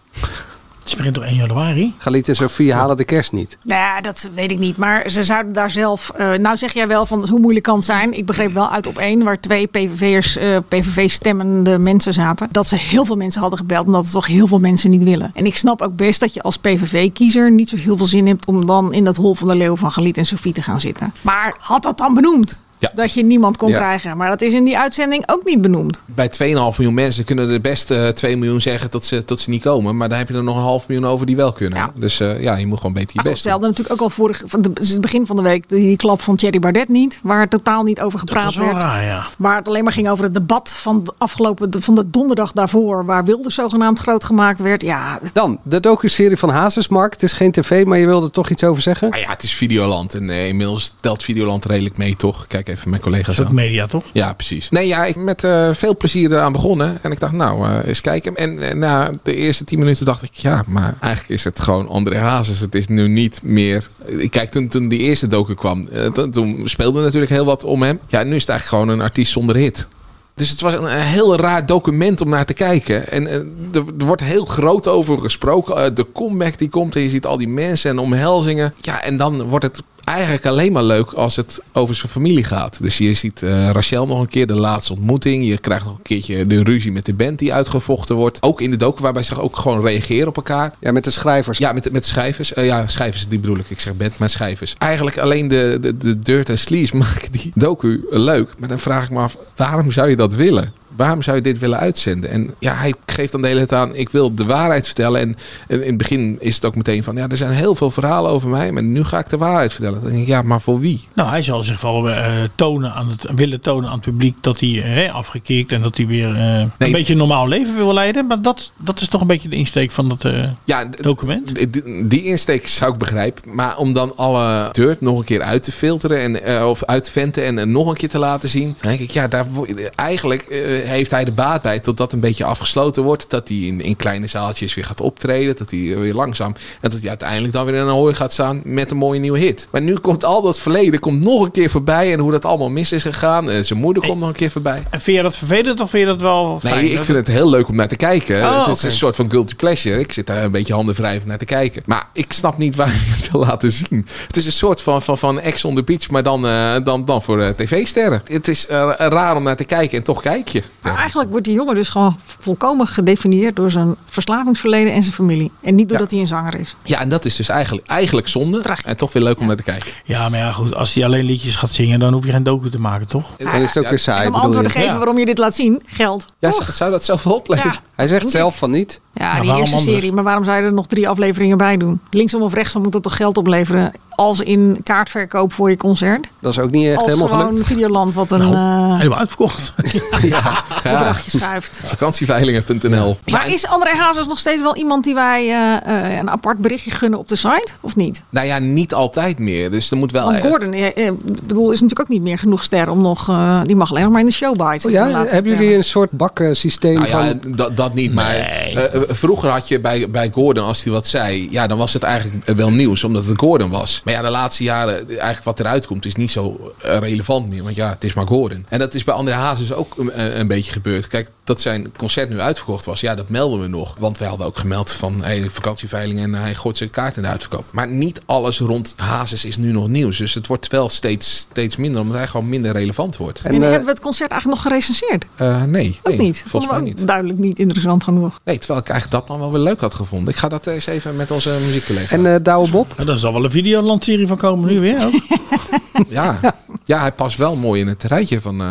[SPEAKER 4] Het begint door 1 januari.
[SPEAKER 1] Galit en Sofie halen de kerst niet.
[SPEAKER 3] Nou ja, dat weet ik niet. Maar ze zouden daar zelf. eh, nou zeg jij wel van hoe moeilijk kan het zijn. Ik begreep wel uit op één, waar twee PVV'ers, eh, PVV-stemmende mensen zaten. Dat ze heel veel mensen hadden gebeld, omdat het toch heel veel mensen niet willen. En ik snap ook best dat je als PVV-kiezer niet zo heel veel zin hebt om dan in dat hol van de leeuw van Galiet en Sofie te gaan zitten. Maar had dat dan benoemd?
[SPEAKER 2] Ja.
[SPEAKER 3] Dat je niemand kon
[SPEAKER 2] Ja.
[SPEAKER 3] krijgen. Maar dat is in die uitzending ook niet benoemd.
[SPEAKER 2] Bij 2,5 miljoen mensen kunnen er best eh 2 miljoen zeggen dat ze, dat ze niet komen. Maar dan heb je er nog een half miljoen over die wel kunnen.
[SPEAKER 3] Ja.
[SPEAKER 2] Dus eh, ja, je moet gewoon beter je
[SPEAKER 3] Maar
[SPEAKER 2] best doen.
[SPEAKER 3] hetzelfde natuurlijk ook al vorig, van de, het begin van de week, die klap van Thierry Bardet niet. Waar totaal niet over
[SPEAKER 4] Dat
[SPEAKER 3] gepraat
[SPEAKER 4] was wel
[SPEAKER 3] werd.
[SPEAKER 4] raar, ja.
[SPEAKER 3] Waar het alleen maar ging over het debat van de afgelopen van de donderdag daarvoor, waar Wilders zogenaamd groot gemaakt werd. Ja,
[SPEAKER 1] Dan, de docuserie van Hazes, Mark. Het is geen tv, maar je wilde er toch iets over zeggen?
[SPEAKER 2] Maar Ah ja, het is Videoland. En eh, inmiddels telt Videoland redelijk mee, toch? Kijk even mijn collega's
[SPEAKER 4] Dat is ook
[SPEAKER 2] aan.
[SPEAKER 4] media, toch?
[SPEAKER 2] Ja, precies. Nee, ja, ik met eh, veel plezier eraan begonnen. En ik dacht, nou, eh, eens kijken. En eh, na de eerste tien minuten dacht ik, ja, maar eigenlijk is het gewoon André Hazes. Het is nu niet meer... Ik Kijk, toen, toen die eerste doken kwam, eh, toen- toen speelde natuurlijk heel wat om hem. Ja, nu is het eigenlijk gewoon een artiest zonder hit. Dus het was een, een heel raar document om naar te kijken. En eh, er, er wordt heel groot over gesproken. Eh, de comeback die komt en je ziet al die mensen en omhelzingen. Ja, en dan wordt het eigenlijk alleen maar leuk als het over zijn familie gaat. Dus je ziet eh, Rachel nog een keer, de laatste ontmoeting. Je krijgt nog een keertje de ruzie met de band die uitgevochten wordt. Ook in de docu waarbij ze ook gewoon reageren op elkaar.
[SPEAKER 1] Ja, met de schrijvers.
[SPEAKER 2] Ja, met, met schrijvers. Eh, ja, schrijvers, die bedoel ik. Ik zeg band, maar schrijvers. Eigenlijk alleen de, de, de dirt en sleaze [laughs] maken die docu leuk. Maar dan vraag ik me af, waarom zou je dat willen? Waarom zou je dit willen uitzenden? En ja, hij geeft dan de hele tijd aan, ik wil de waarheid vertellen. En eh, in het begin is het ook meteen van, ja, er zijn heel veel verhalen over mij. Maar nu ga ik de waarheid vertellen. Dan denk ik, ja, maar voor wie?
[SPEAKER 4] Nou, hij zal zich wel eh, tonen aan het, willen tonen aan het publiek dat hij eh, afgekikt en dat hij weer eh,
[SPEAKER 2] Nee.
[SPEAKER 4] een beetje een normaal leven wil leiden. Maar dat, dat is toch een beetje de insteek van dat eh,
[SPEAKER 2] Ja, d-
[SPEAKER 4] document.
[SPEAKER 2] D- d- Die insteek zou ik begrijpen. Maar om dan alle dirt nog een keer uit te filteren en, eh, of uit te venten en eh, nog een keer te laten zien. Dan denk ik, ja, daar, wo- eigenlijk eh, heeft hij de baat bij tot dat een beetje afgesloten wordt. Dat hij in, in kleine zaaltjes weer gaat optreden. Dat hij eh, weer langzaam. En dat hij uiteindelijk dan weer in een hooi gaat staan met een mooie nieuwe hit. Maar nu komt al dat verleden komt nog een keer voorbij. En hoe dat allemaal mis is gegaan. Eh, zijn moeder komt nog een keer voorbij.
[SPEAKER 4] En vind je dat vervelend of vind je dat wel fijn?
[SPEAKER 2] Nee, ik
[SPEAKER 4] Dat-
[SPEAKER 2] vind het heel leuk om naar te kijken.
[SPEAKER 4] Oh,
[SPEAKER 2] het is
[SPEAKER 4] oké.
[SPEAKER 2] een soort van guilty pleasure. Ik zit daar een beetje handen wrijvend naar te kijken. Maar ik snap niet waar [laughs] je het wil laten zien. Het is een soort van, van, van Ex on the Beach, maar dan, eh, dan, dan voor eh, tv-sterren. Het is eh, raar om naar te kijken en toch kijk je.
[SPEAKER 4] Ah.
[SPEAKER 3] maar eigenlijk wordt die jongen dus gewoon volkomen gedefinieerd door zijn verslavingsverleden en zijn familie. En niet doordat hij een zanger is.
[SPEAKER 2] Ja, en dat is dus eigenlijk, eigenlijk zonde.
[SPEAKER 3] Tragisch.
[SPEAKER 2] En toch weer leuk om naar te kijken.
[SPEAKER 4] Ja, maar ja, goed. Als hij alleen liedjes gaat zingen, dan hoef je geen docu te maken, toch?
[SPEAKER 1] Dan is het ook weer saai,
[SPEAKER 3] en om
[SPEAKER 1] bedoel
[SPEAKER 3] antwoorden
[SPEAKER 1] je.
[SPEAKER 3] geven
[SPEAKER 4] Ja.
[SPEAKER 3] waarom je dit laat zien, geld.
[SPEAKER 2] Ja,
[SPEAKER 3] Toch?
[SPEAKER 2] zou- zou dat zelf wel opleveren?
[SPEAKER 3] Ja.
[SPEAKER 1] Hij zegt zelf van niet.
[SPEAKER 3] Ja,
[SPEAKER 4] Maar
[SPEAKER 3] die
[SPEAKER 4] waarom
[SPEAKER 3] eerste
[SPEAKER 4] anders?
[SPEAKER 3] serie. Maar waarom zou je er nog drie afleveringen bij doen? Linksom of rechtsom moet dat toch geld opleveren? Als in kaartverkoop voor je concert.
[SPEAKER 1] Dat is ook niet echt
[SPEAKER 3] als
[SPEAKER 1] helemaal
[SPEAKER 3] gewoon
[SPEAKER 1] gelukt.
[SPEAKER 3] Videoland wat een eh,
[SPEAKER 4] Helemaal uitverkocht.
[SPEAKER 2] Ja.
[SPEAKER 3] bedragje schuift.
[SPEAKER 2] Vakantieveilingen.nl.
[SPEAKER 3] Maar is André Hazes nog steeds wel iemand die wij eh, eh, een apart berichtje gunnen op de site? Of niet?
[SPEAKER 2] Nou ja, niet altijd meer. Dus er moet
[SPEAKER 4] Oh,
[SPEAKER 2] wel...
[SPEAKER 3] Want Gordon eh, eh, bedoel, is natuurlijk ook niet meer genoeg ster om nog... eh, die mag alleen nog maar in de showbite.
[SPEAKER 1] Oh ja, hebben jullie een soort baksysteem
[SPEAKER 2] Nou ja,
[SPEAKER 1] van...
[SPEAKER 2] dat, dat niet. Maar eh, eh, vroeger had je bij, bij Gordon, als hij wat zei, ja, dan was het eigenlijk wel nieuws, omdat het Gordon was. Maar ja, de laatste jaren, eigenlijk wat eruit komt, is niet zo eh, relevant meer. Want ja, het is maar Gordon. En dat is bij André Hazes dus ook een, een- een beetje gebeurd. Kijk, dat zijn concert nu uitverkocht was, ja, dat melden we nog. Want wij hadden ook gemeld van hey, vakantieveiling en eh, hij gooit zijn kaart in de uitverkoop. Maar niet alles rond Hazes is nu nog nieuws. Dus het wordt wel steeds, steeds minder, omdat hij gewoon minder relevant wordt.
[SPEAKER 3] En,
[SPEAKER 1] eh,
[SPEAKER 3] hebben we het concert eigenlijk nog gerecenseerd?
[SPEAKER 2] Eh, nee,
[SPEAKER 3] Ook
[SPEAKER 2] nee,
[SPEAKER 3] niet.
[SPEAKER 2] Volgens mij
[SPEAKER 3] Vonden we
[SPEAKER 2] niet.
[SPEAKER 3] ook Duidelijk niet interessant genoeg.
[SPEAKER 2] Nee, terwijl ik eigenlijk dat dan wel weer leuk had gevonden. Ik ga dat eens even met onze muziekcollega.
[SPEAKER 1] En eh Douwe Bob?
[SPEAKER 4] Nou, daar zal wel een videolandserie van komen nu weer. Ook. eh, [laughs]
[SPEAKER 2] Ja. ja, hij past wel mooi in het rijtje van... eh,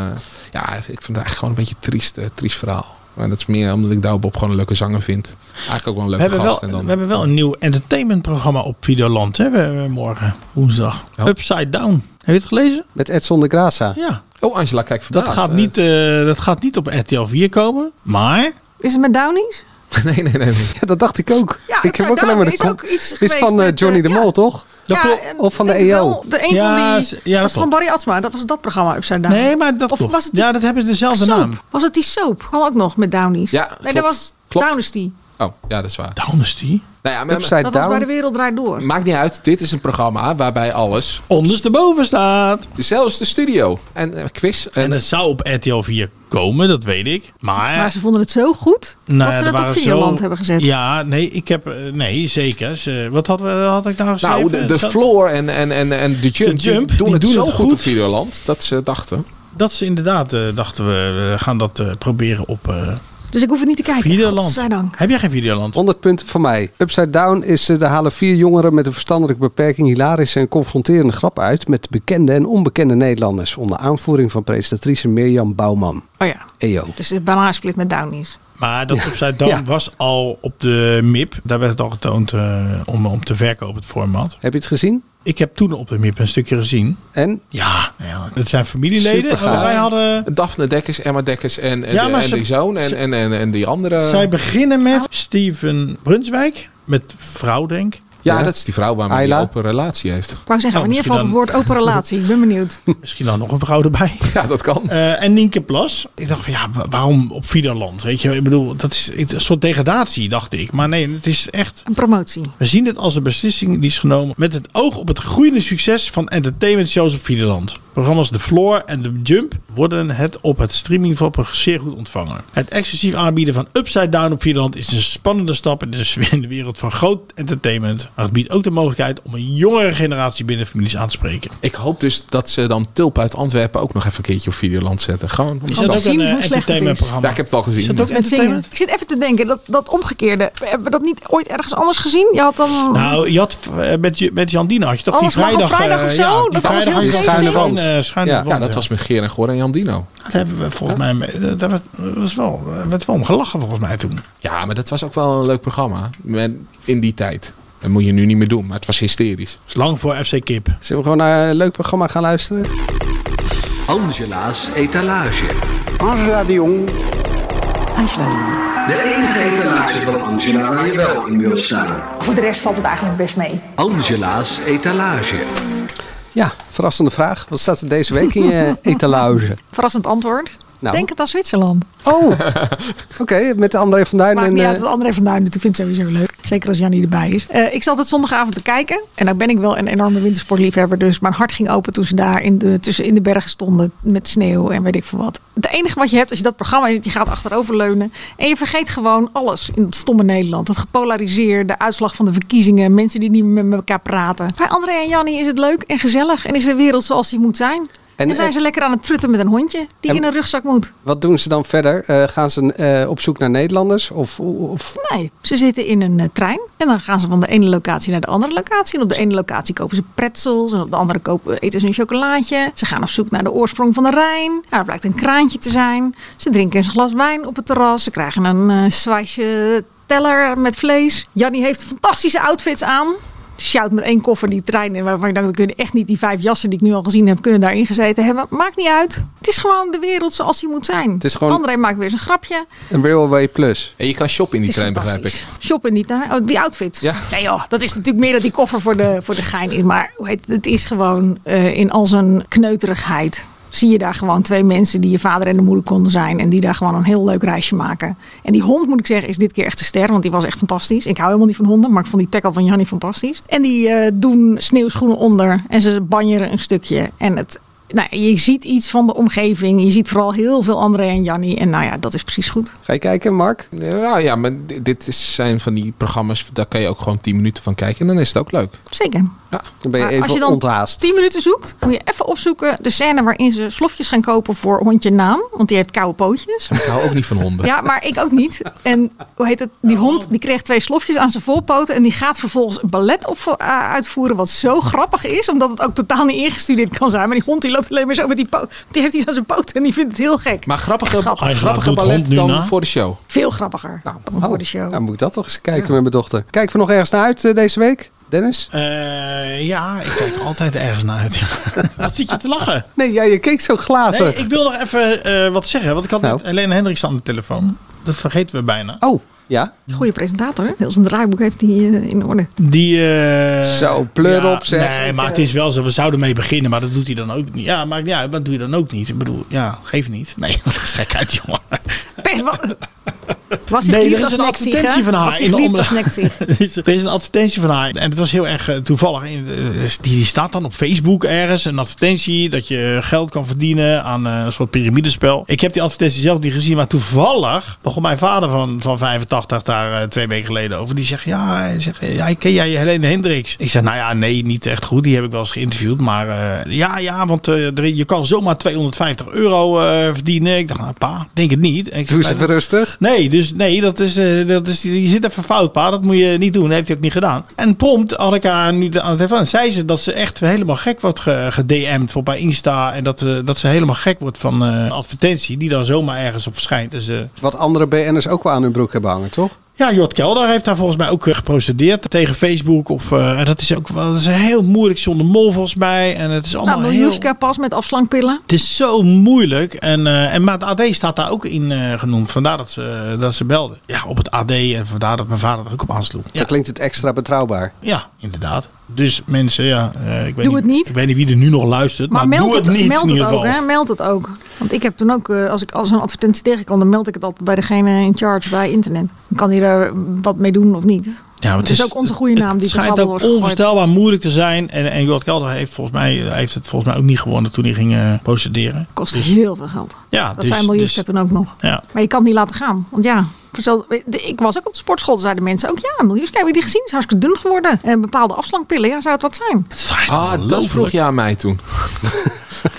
[SPEAKER 2] ja, ik vind het eigenlijk gewoon een beetje een triest, eh, triest verhaal. Maar dat is meer omdat ik Douwe Bob gewoon een leuke zanger vind. Eigenlijk ook wel een
[SPEAKER 4] We
[SPEAKER 2] leuke
[SPEAKER 4] hebben,
[SPEAKER 2] gast.
[SPEAKER 4] wel, we hebben wel een nieuw entertainmentprogramma op Videoland. Hè? We hebben morgen, woensdag.
[SPEAKER 3] Oh.
[SPEAKER 2] Ja.
[SPEAKER 4] Upside Down. Heb je het gelezen?
[SPEAKER 1] Met Edson de Graça.
[SPEAKER 4] Ja.
[SPEAKER 2] Oh, Angela, kijk
[SPEAKER 4] Dat,
[SPEAKER 2] vandaag.
[SPEAKER 4] gaat, niet, eh, dat gaat niet op RTL 4 komen. Maar
[SPEAKER 3] Is het met Downies?
[SPEAKER 2] [laughs] nee, nee, nee. nee.
[SPEAKER 1] Ja, dat dacht ik ook.
[SPEAKER 3] Ja,
[SPEAKER 1] ik heb
[SPEAKER 3] nou,
[SPEAKER 1] ook alleen maar de
[SPEAKER 3] daarom is
[SPEAKER 1] kop-
[SPEAKER 3] ook iets
[SPEAKER 1] is
[SPEAKER 3] geweest
[SPEAKER 1] van eh,
[SPEAKER 3] met,
[SPEAKER 1] Johnny
[SPEAKER 3] eh,
[SPEAKER 1] de
[SPEAKER 3] ja.
[SPEAKER 1] Mol, toch?
[SPEAKER 4] Dat klopt.
[SPEAKER 3] en
[SPEAKER 1] Of van
[SPEAKER 3] ik
[SPEAKER 1] de E
[SPEAKER 3] denk
[SPEAKER 1] EO.
[SPEAKER 3] wel, De een
[SPEAKER 4] Ja,
[SPEAKER 3] van
[SPEAKER 4] ze- ja,
[SPEAKER 3] die.
[SPEAKER 4] dat
[SPEAKER 3] was van
[SPEAKER 4] klopt.
[SPEAKER 3] Barry Atsma. Dat was dat programma Upside Down.
[SPEAKER 4] Nee, maar dat
[SPEAKER 3] Of
[SPEAKER 4] klopt.
[SPEAKER 3] was het die
[SPEAKER 4] ja, dat hebben ze dezelfde
[SPEAKER 3] soap?
[SPEAKER 4] naam.
[SPEAKER 3] Was het die soap? Kwam ook nog met Downies.
[SPEAKER 2] Ja,
[SPEAKER 3] nee,
[SPEAKER 2] klopt.
[SPEAKER 3] dat was
[SPEAKER 2] Klopt.
[SPEAKER 3] Downesty.
[SPEAKER 2] Oh, ja, dat is waar.
[SPEAKER 4] Downesty.
[SPEAKER 2] Nou ja, maar-
[SPEAKER 1] Upside
[SPEAKER 3] Dat was
[SPEAKER 1] down.
[SPEAKER 3] bij de wereld draait door.
[SPEAKER 2] maakt niet uit. Dit is een programma waarbij alles,
[SPEAKER 4] Ondersteboven staat.
[SPEAKER 2] zelfs de studio en eh, quiz. En,
[SPEAKER 4] En dat zou op RTL 4 komen, dat weet ik. Maar,
[SPEAKER 3] Maar ze vonden het zo goed
[SPEAKER 4] Eh, Nou ja, er
[SPEAKER 3] dat ze dat op
[SPEAKER 4] waren zo-
[SPEAKER 3] Videoland hebben gezet.
[SPEAKER 4] Ja, nee, ik heb... eh, Nee, zeker. Ze- Wat had, we, had ik nou geschreven?
[SPEAKER 2] nou, de, de
[SPEAKER 4] Het zou-
[SPEAKER 2] floor en, en, en, en de jump,
[SPEAKER 4] De Jump,
[SPEAKER 2] die doen
[SPEAKER 4] die
[SPEAKER 2] het
[SPEAKER 4] doen
[SPEAKER 2] zo
[SPEAKER 4] het
[SPEAKER 2] goed
[SPEAKER 4] goed.
[SPEAKER 2] op Videoland dat ze dachten.
[SPEAKER 4] Dat ze inderdaad, eh, dachten we, we gaan dat eh, proberen op eh
[SPEAKER 3] Dus ik hoef het niet te kijken.
[SPEAKER 4] Videoland.
[SPEAKER 3] Godzijdank.
[SPEAKER 4] Heb jij geen Videoland?
[SPEAKER 1] 100 punten van mij. Upside Down is eh, daar halen vier jongeren met een verstandelijke beperking hilarische en confronterende grap uit met bekende en onbekende Nederlanders onder aanvoering van presentatrice Mirjam Bouwman. E
[SPEAKER 3] Oh ja.
[SPEAKER 1] EO.
[SPEAKER 3] Dus de bananensplit met Downies.
[SPEAKER 4] Maar dat Upside Down
[SPEAKER 1] Ja.
[SPEAKER 4] was al op de MIP. Daar werd het al getoond eh, om, om te verkopen, het format.
[SPEAKER 1] Heb je het gezien?
[SPEAKER 4] Ik heb toen op de MIP een stukje gezien.
[SPEAKER 1] En?
[SPEAKER 4] Ja, ja het zijn familieleden.
[SPEAKER 1] Supergaaf.
[SPEAKER 4] Maar wij hadden...
[SPEAKER 2] Daphne Dekkers, Emma Dekkers en, en,
[SPEAKER 4] Ja,
[SPEAKER 2] de-
[SPEAKER 4] maar
[SPEAKER 2] en
[SPEAKER 4] ze-
[SPEAKER 2] die zoon en,
[SPEAKER 4] ze-
[SPEAKER 2] en, en, en die
[SPEAKER 1] Eh.
[SPEAKER 2] andere.
[SPEAKER 4] Zij beginnen met Steven Brunswijk. Met vrouw, denk ik.
[SPEAKER 2] ja,
[SPEAKER 1] Ja.
[SPEAKER 2] dat is die vrouw waarmee
[SPEAKER 1] Ayla.
[SPEAKER 2] hij open relatie heeft. [laughs]
[SPEAKER 3] Ik wou zeggen,
[SPEAKER 4] Nou,
[SPEAKER 3] wanneer
[SPEAKER 4] misschien
[SPEAKER 3] valt het woord open relatie? Ik ben
[SPEAKER 4] [laughs]
[SPEAKER 3] benieuwd.
[SPEAKER 4] Misschien dan nog een
[SPEAKER 1] [laughs]
[SPEAKER 4] vrouw erbij.
[SPEAKER 2] Ja, dat kan.
[SPEAKER 4] Eh, en Nienke Plas. Ik dacht van ja, wa- waarom op Videoland? Weet je, ik bedoel, dat is een soort degradatie, dacht ik. Maar nee, het is echt.
[SPEAKER 3] Een promotie.
[SPEAKER 4] We zien dit als een beslissing die is genomen met het oog op het groeiende succes van entertainment shows op Videoland. Programma's The Floor en The Jump worden het op het streamingvlak zeer goed ontvangen. Het exclusief aanbieden van Upside Down op Videoland is een spannende stap in de, sfeer- in de wereld van groot entertainment. Maar het biedt ook de mogelijkheid om een jongere generatie binnen families aan te spreken.
[SPEAKER 2] Ik hoop dus dat ze dan Tulp uit Antwerpen ook nog even een keertje op Videoland zetten. Gewoon.
[SPEAKER 4] Is
[SPEAKER 2] omdat-
[SPEAKER 4] dat ook
[SPEAKER 3] zien
[SPEAKER 4] een
[SPEAKER 3] hoe
[SPEAKER 4] eh,
[SPEAKER 3] slecht het is.
[SPEAKER 2] Ja,
[SPEAKER 4] entertainmentprogramma?
[SPEAKER 2] ik heb het al
[SPEAKER 4] Is dat
[SPEAKER 2] gezien.
[SPEAKER 4] ook
[SPEAKER 3] Met zingen.
[SPEAKER 4] entertainment?
[SPEAKER 3] Ik zit even te denken, dat, dat omgekeerde. Hebben we dat niet ooit ergens anders gezien? Je had dan...
[SPEAKER 4] Nou, je had, eh, met, je- met Jan Dina had je toch
[SPEAKER 3] Alles
[SPEAKER 4] die
[SPEAKER 3] mag op
[SPEAKER 4] vrijdag...
[SPEAKER 3] vrijdag
[SPEAKER 4] eh,
[SPEAKER 3] of zo?
[SPEAKER 4] ja, die
[SPEAKER 3] Dat was
[SPEAKER 4] vrijdag
[SPEAKER 3] heel
[SPEAKER 4] had je
[SPEAKER 1] zeker
[SPEAKER 4] schuine
[SPEAKER 1] ding.
[SPEAKER 4] wand. eh, schuine
[SPEAKER 1] Ja,
[SPEAKER 2] Ja,
[SPEAKER 4] wand,
[SPEAKER 2] dat was met Geer en Gor en Jan Dino.
[SPEAKER 4] Dat hebben we volgens mij... Dat, dat, was wel, dat werd wel om gelachen volgens mij toen.
[SPEAKER 2] Ja, maar dat was ook wel een leuk programma. Met- In die tijd. Dat moet je nu niet meer doen, maar het was hysterisch.
[SPEAKER 4] is lang voor FC Kip.
[SPEAKER 1] Zullen we gewoon naar een leuk programma gaan luisteren?
[SPEAKER 11] Angela's etalage.
[SPEAKER 1] Angela de Jong.
[SPEAKER 11] De enige etalage van Angela waar je wel in wilt staan.
[SPEAKER 12] Voor de rest valt het eigenlijk best mee.
[SPEAKER 11] Angela's etalage.
[SPEAKER 1] Ja, verrassende vraag. Wat staat er deze week in
[SPEAKER 3] [laughs]
[SPEAKER 1] je etalage?
[SPEAKER 3] Verrassend antwoord.
[SPEAKER 1] Nou.
[SPEAKER 3] Denk het aan Zwitserland.
[SPEAKER 1] Oh, oké. met André van Duin.
[SPEAKER 3] Maakt
[SPEAKER 1] en,
[SPEAKER 3] niet
[SPEAKER 1] eh,
[SPEAKER 3] uit wat André van Duin doet. Ik vind het sowieso leuk. Zeker als Jannie erbij is. Eh, ik zat het zondagavond te kijken. En nou ben ik wel een enorme wintersportliefhebber. Dus mijn hart ging open toen ze daar in de, tussen in de bergen stonden. Met sneeuw en weet ik veel wat. Het enige wat je hebt als je dat programma ziet. Je gaat achteroverleunen. En je vergeet gewoon alles in het stomme Nederland. Het gepolariseerde, de uitslag van de verkiezingen. Mensen die niet meer met elkaar praten. Bij André en Jannie is het leuk en gezellig. En is de wereld zoals die moet zijn. En, zijn ze lekker aan het trutten met een hondje.
[SPEAKER 1] eh,
[SPEAKER 3] Die
[SPEAKER 1] En-
[SPEAKER 3] in een rugzak moet.
[SPEAKER 1] Wat doen ze dan verder? Eh, gaan ze eh, op zoek naar Nederlanders? Of, of...
[SPEAKER 3] Nee, ze zitten in een eh, trein en dan gaan ze van de ene locatie naar de andere locatie. En op de ene locatie kopen ze pretzels en op de andere kopen, eh, eten ze een chocolaatje. Ze gaan op zoek naar de oorsprong van de Rijn. Nou, daar blijkt een kraantje te zijn. Ze drinken eens een glas wijn op het terras. Ze krijgen een eh swaasje teller met vlees. Jannie heeft fantastische outfits aan. Shout met één koffer die trein in, waarvan ik dacht, dat kunnen echt niet die vijf jassen die ik nu al gezien heb, kunnen daarin gezeten hebben. Maakt niet uit. Het is gewoon de wereld zoals die moet zijn. Het
[SPEAKER 1] is gewoon-
[SPEAKER 3] André maakt weer zijn grapje.
[SPEAKER 1] Een Railway Plus.
[SPEAKER 2] En je kan shoppen in die
[SPEAKER 3] Het is
[SPEAKER 2] trein, begrijp
[SPEAKER 3] fantastisch.
[SPEAKER 2] ik.
[SPEAKER 3] Shoppen niet naar. Oh, die outfit.
[SPEAKER 2] Ja.
[SPEAKER 3] Nee joh, dat is natuurlijk meer dat die koffer voor de, voor de gein is. Maar hoe heet het, het is gewoon eh, in al zijn kneuterigheid. zie je daar gewoon twee mensen die je vader en de moeder konden zijn. En die daar gewoon een heel leuk reisje maken. En die hond, moet ik zeggen, is dit keer echt de ster. Want die was echt fantastisch. Ik hou helemaal niet van honden, maar ik vond die tackle van Jannie fantastisch. En die eh, doen sneeuwschoenen onder. En ze banjeren een stukje. En het, nou, je ziet iets van de omgeving. Je ziet vooral heel veel André en Jannie. En nou ja, dat is precies goed.
[SPEAKER 1] Ga je kijken, Mark?
[SPEAKER 2] Ja, nou ja maar di- dit is- zijn van die programma's, daar kan je ook gewoon 10 minuten van kijken en dan is het ook leuk.
[SPEAKER 3] Zeker.
[SPEAKER 1] Dan ben je
[SPEAKER 3] Maar als je
[SPEAKER 1] even
[SPEAKER 3] dan
[SPEAKER 1] onthaast.
[SPEAKER 3] 10 minuten zoekt, moet je even opzoeken de scène waarin ze slofjes gaan kopen voor hondje naam. Want die heeft koude
[SPEAKER 4] [laughs]
[SPEAKER 3] pootjes.
[SPEAKER 2] Ik hou ook niet van honden.
[SPEAKER 3] Ja, maar ik ook niet. En hoe heet het? Die hond die kreeg twee slofjes aan zijn voorpoten. En die gaat vervolgens een ballet op, eh, uitvoeren. Wat zo grappig is, omdat het ook totaal niet ingestudeerd kan zijn. Maar die hond die loopt alleen maar zo met die poot. Die heeft iets aan zijn poten en die vindt het heel gek.
[SPEAKER 2] Maar grappige,
[SPEAKER 3] Echt schattig.
[SPEAKER 2] grappige
[SPEAKER 4] doet hond
[SPEAKER 2] ballet
[SPEAKER 4] nu
[SPEAKER 2] dan
[SPEAKER 4] na?
[SPEAKER 2] voor de show.
[SPEAKER 3] Veel grappiger
[SPEAKER 4] Nou,
[SPEAKER 3] dan
[SPEAKER 4] oh.
[SPEAKER 3] voor de show.
[SPEAKER 1] Oh, Dan moet ik dat toch eens kijken met mijn dochter. Kijk je nog ergens naar uit eh, deze week, Dennis?
[SPEAKER 4] Eh, ja, ik kijk altijd ergens naar uit. [laughs] Wat zit je te lachen?
[SPEAKER 1] Nee, ja, je keek zo glazig.
[SPEAKER 4] Nee, ik wil nog even eh, wat zeggen, want ik had
[SPEAKER 1] Nou.
[SPEAKER 4] net Helena Hendricks aan de telefoon. Dat vergeten we bijna.
[SPEAKER 1] Oh, ja.
[SPEAKER 3] Goeie presentator, hè? Heel zijn draaiboek heeft hij eh, in orde.
[SPEAKER 4] Die... eh,
[SPEAKER 1] Zo, pleur
[SPEAKER 4] ja,
[SPEAKER 1] op, zeg.
[SPEAKER 4] Nee, maar het is wel zo. We zouden mee beginnen, maar dat doet hij dan ook niet. Ja, maar ja, dat doe je dan ook niet. Ik bedoel, ja, geef niet. Nee, [laughs] dat is gekheid, jongen.
[SPEAKER 3] Pers,
[SPEAKER 4] [laughs]
[SPEAKER 3] wat? Was
[SPEAKER 4] Nee,
[SPEAKER 3] hij
[SPEAKER 4] er
[SPEAKER 3] lief
[SPEAKER 4] is
[SPEAKER 3] als
[SPEAKER 4] een
[SPEAKER 3] nekt zich,
[SPEAKER 4] advertentie
[SPEAKER 3] hè?
[SPEAKER 4] van haar
[SPEAKER 3] Was hij
[SPEAKER 4] in de
[SPEAKER 3] lief
[SPEAKER 4] omloop.
[SPEAKER 3] als
[SPEAKER 4] [laughs]
[SPEAKER 3] nekt zich.
[SPEAKER 4] Er is- er is een advertentie van haar. En het was heel erg eh, toevallig. in- eh, Die, die staat dan op Facebook ergens. Een advertentie dat je eh, geld kan verdienen aan eh, een soort piramidespel. Ik heb die advertentie zelf niet gezien. Maar toevallig begon mijn vader van, van 85 daar eh, twee weken geleden over. Die zegt, ja, hij zegt, eh, ja, ken jij Helene Hendricks? Ik zeg, nou ja, nee, niet echt goed. Die heb ik wel eens geïnterviewd. Maar eh, ja, ja, want eh, er- je kan zomaar 250 euro eh, verdienen. Ik dacht, nou pa, denk het niet. En ik zeg,
[SPEAKER 1] Doe eens
[SPEAKER 4] "Maar-
[SPEAKER 1] even rustig.
[SPEAKER 4] Nee, dus nee, dat is, eh, dat is, je zit even fout, pa. Dat moet je niet doen. Dat heeft hij ook niet gedaan. En prompt had ik haar nu de- aan de telefoon. Zei ze dat ze echt helemaal gek wordt ge- gedm'd voor bij Insta. En dat, eh, dat ze helemaal gek wordt van eh, advertentie die dan zomaar ergens op verschijnt. Dus, eh,
[SPEAKER 1] Wat andere BN'ers ook wel aan hun broek hebben hangen, toch?
[SPEAKER 4] ja, Jort Kelder heeft daar volgens mij ook eh, geprocedeerd tegen Facebook. Of, eh, en dat is ook wel dat is heel moeilijk zonder mol volgens mij. En het is allemaal
[SPEAKER 3] Nou,
[SPEAKER 4] heel...
[SPEAKER 3] Miljuska pas met afslankpillen.
[SPEAKER 4] Het is zo moeilijk. En, eh, en maar het AD staat daar ook in eh, genoemd. Vandaar dat ze, eh, dat ze belden. Ja, op het AD. En vandaar dat mijn vader er ook op aansloeg. Ja,
[SPEAKER 1] Dan klinkt het extra betrouwbaar.
[SPEAKER 4] ja inderdaad. Dus mensen, ja. eh, ik weet
[SPEAKER 3] Doe het niet.
[SPEAKER 4] Ik weet niet wie er nu nog luistert. Maar,
[SPEAKER 3] Maar, meld,
[SPEAKER 4] Nou, doe het,
[SPEAKER 3] het,
[SPEAKER 4] niet
[SPEAKER 3] meld
[SPEAKER 4] in
[SPEAKER 3] het
[SPEAKER 4] ieder
[SPEAKER 3] ook,
[SPEAKER 4] geval.
[SPEAKER 3] hè? Meld het ook. Want ik heb toen ook, eh, als ik al zo'n advertentie tegenkwam, dan meld ik het altijd bij degene in charge bij internet. Dan kan hij er wat mee doen of niet.
[SPEAKER 4] Ja, maar
[SPEAKER 3] het is ook onze goede naam die
[SPEAKER 4] Het
[SPEAKER 3] te
[SPEAKER 4] schijnt
[SPEAKER 3] grabbel
[SPEAKER 4] ook
[SPEAKER 3] wordt gegooid.
[SPEAKER 4] onvoorstelbaar moeilijk te zijn. En, en Jort Kelder heeft, volgens mij, eh, heeft het volgens mij ook niet gewonnen toen hij ging eh, procederen.
[SPEAKER 3] Kost heel veel geld.
[SPEAKER 4] Dus- Ja,
[SPEAKER 3] Dat
[SPEAKER 4] dus,
[SPEAKER 3] zijn miljoenen
[SPEAKER 4] dus-
[SPEAKER 3] toen ook nog.
[SPEAKER 4] ja.
[SPEAKER 3] Maar je kan het niet laten gaan. Want ja, vertel- ik was ook op de sportschool. toen zeiden mensen ook, ja, miljoenen, heb je die gezien? Is hartstikke dun geworden. En bepaalde afslankpillen, ja, zou het wat zijn? [laughs]
[SPEAKER 4] Het is toch echt
[SPEAKER 2] Ah, dat
[SPEAKER 4] ongelooflijk?
[SPEAKER 2] vroeg je aan mij toen.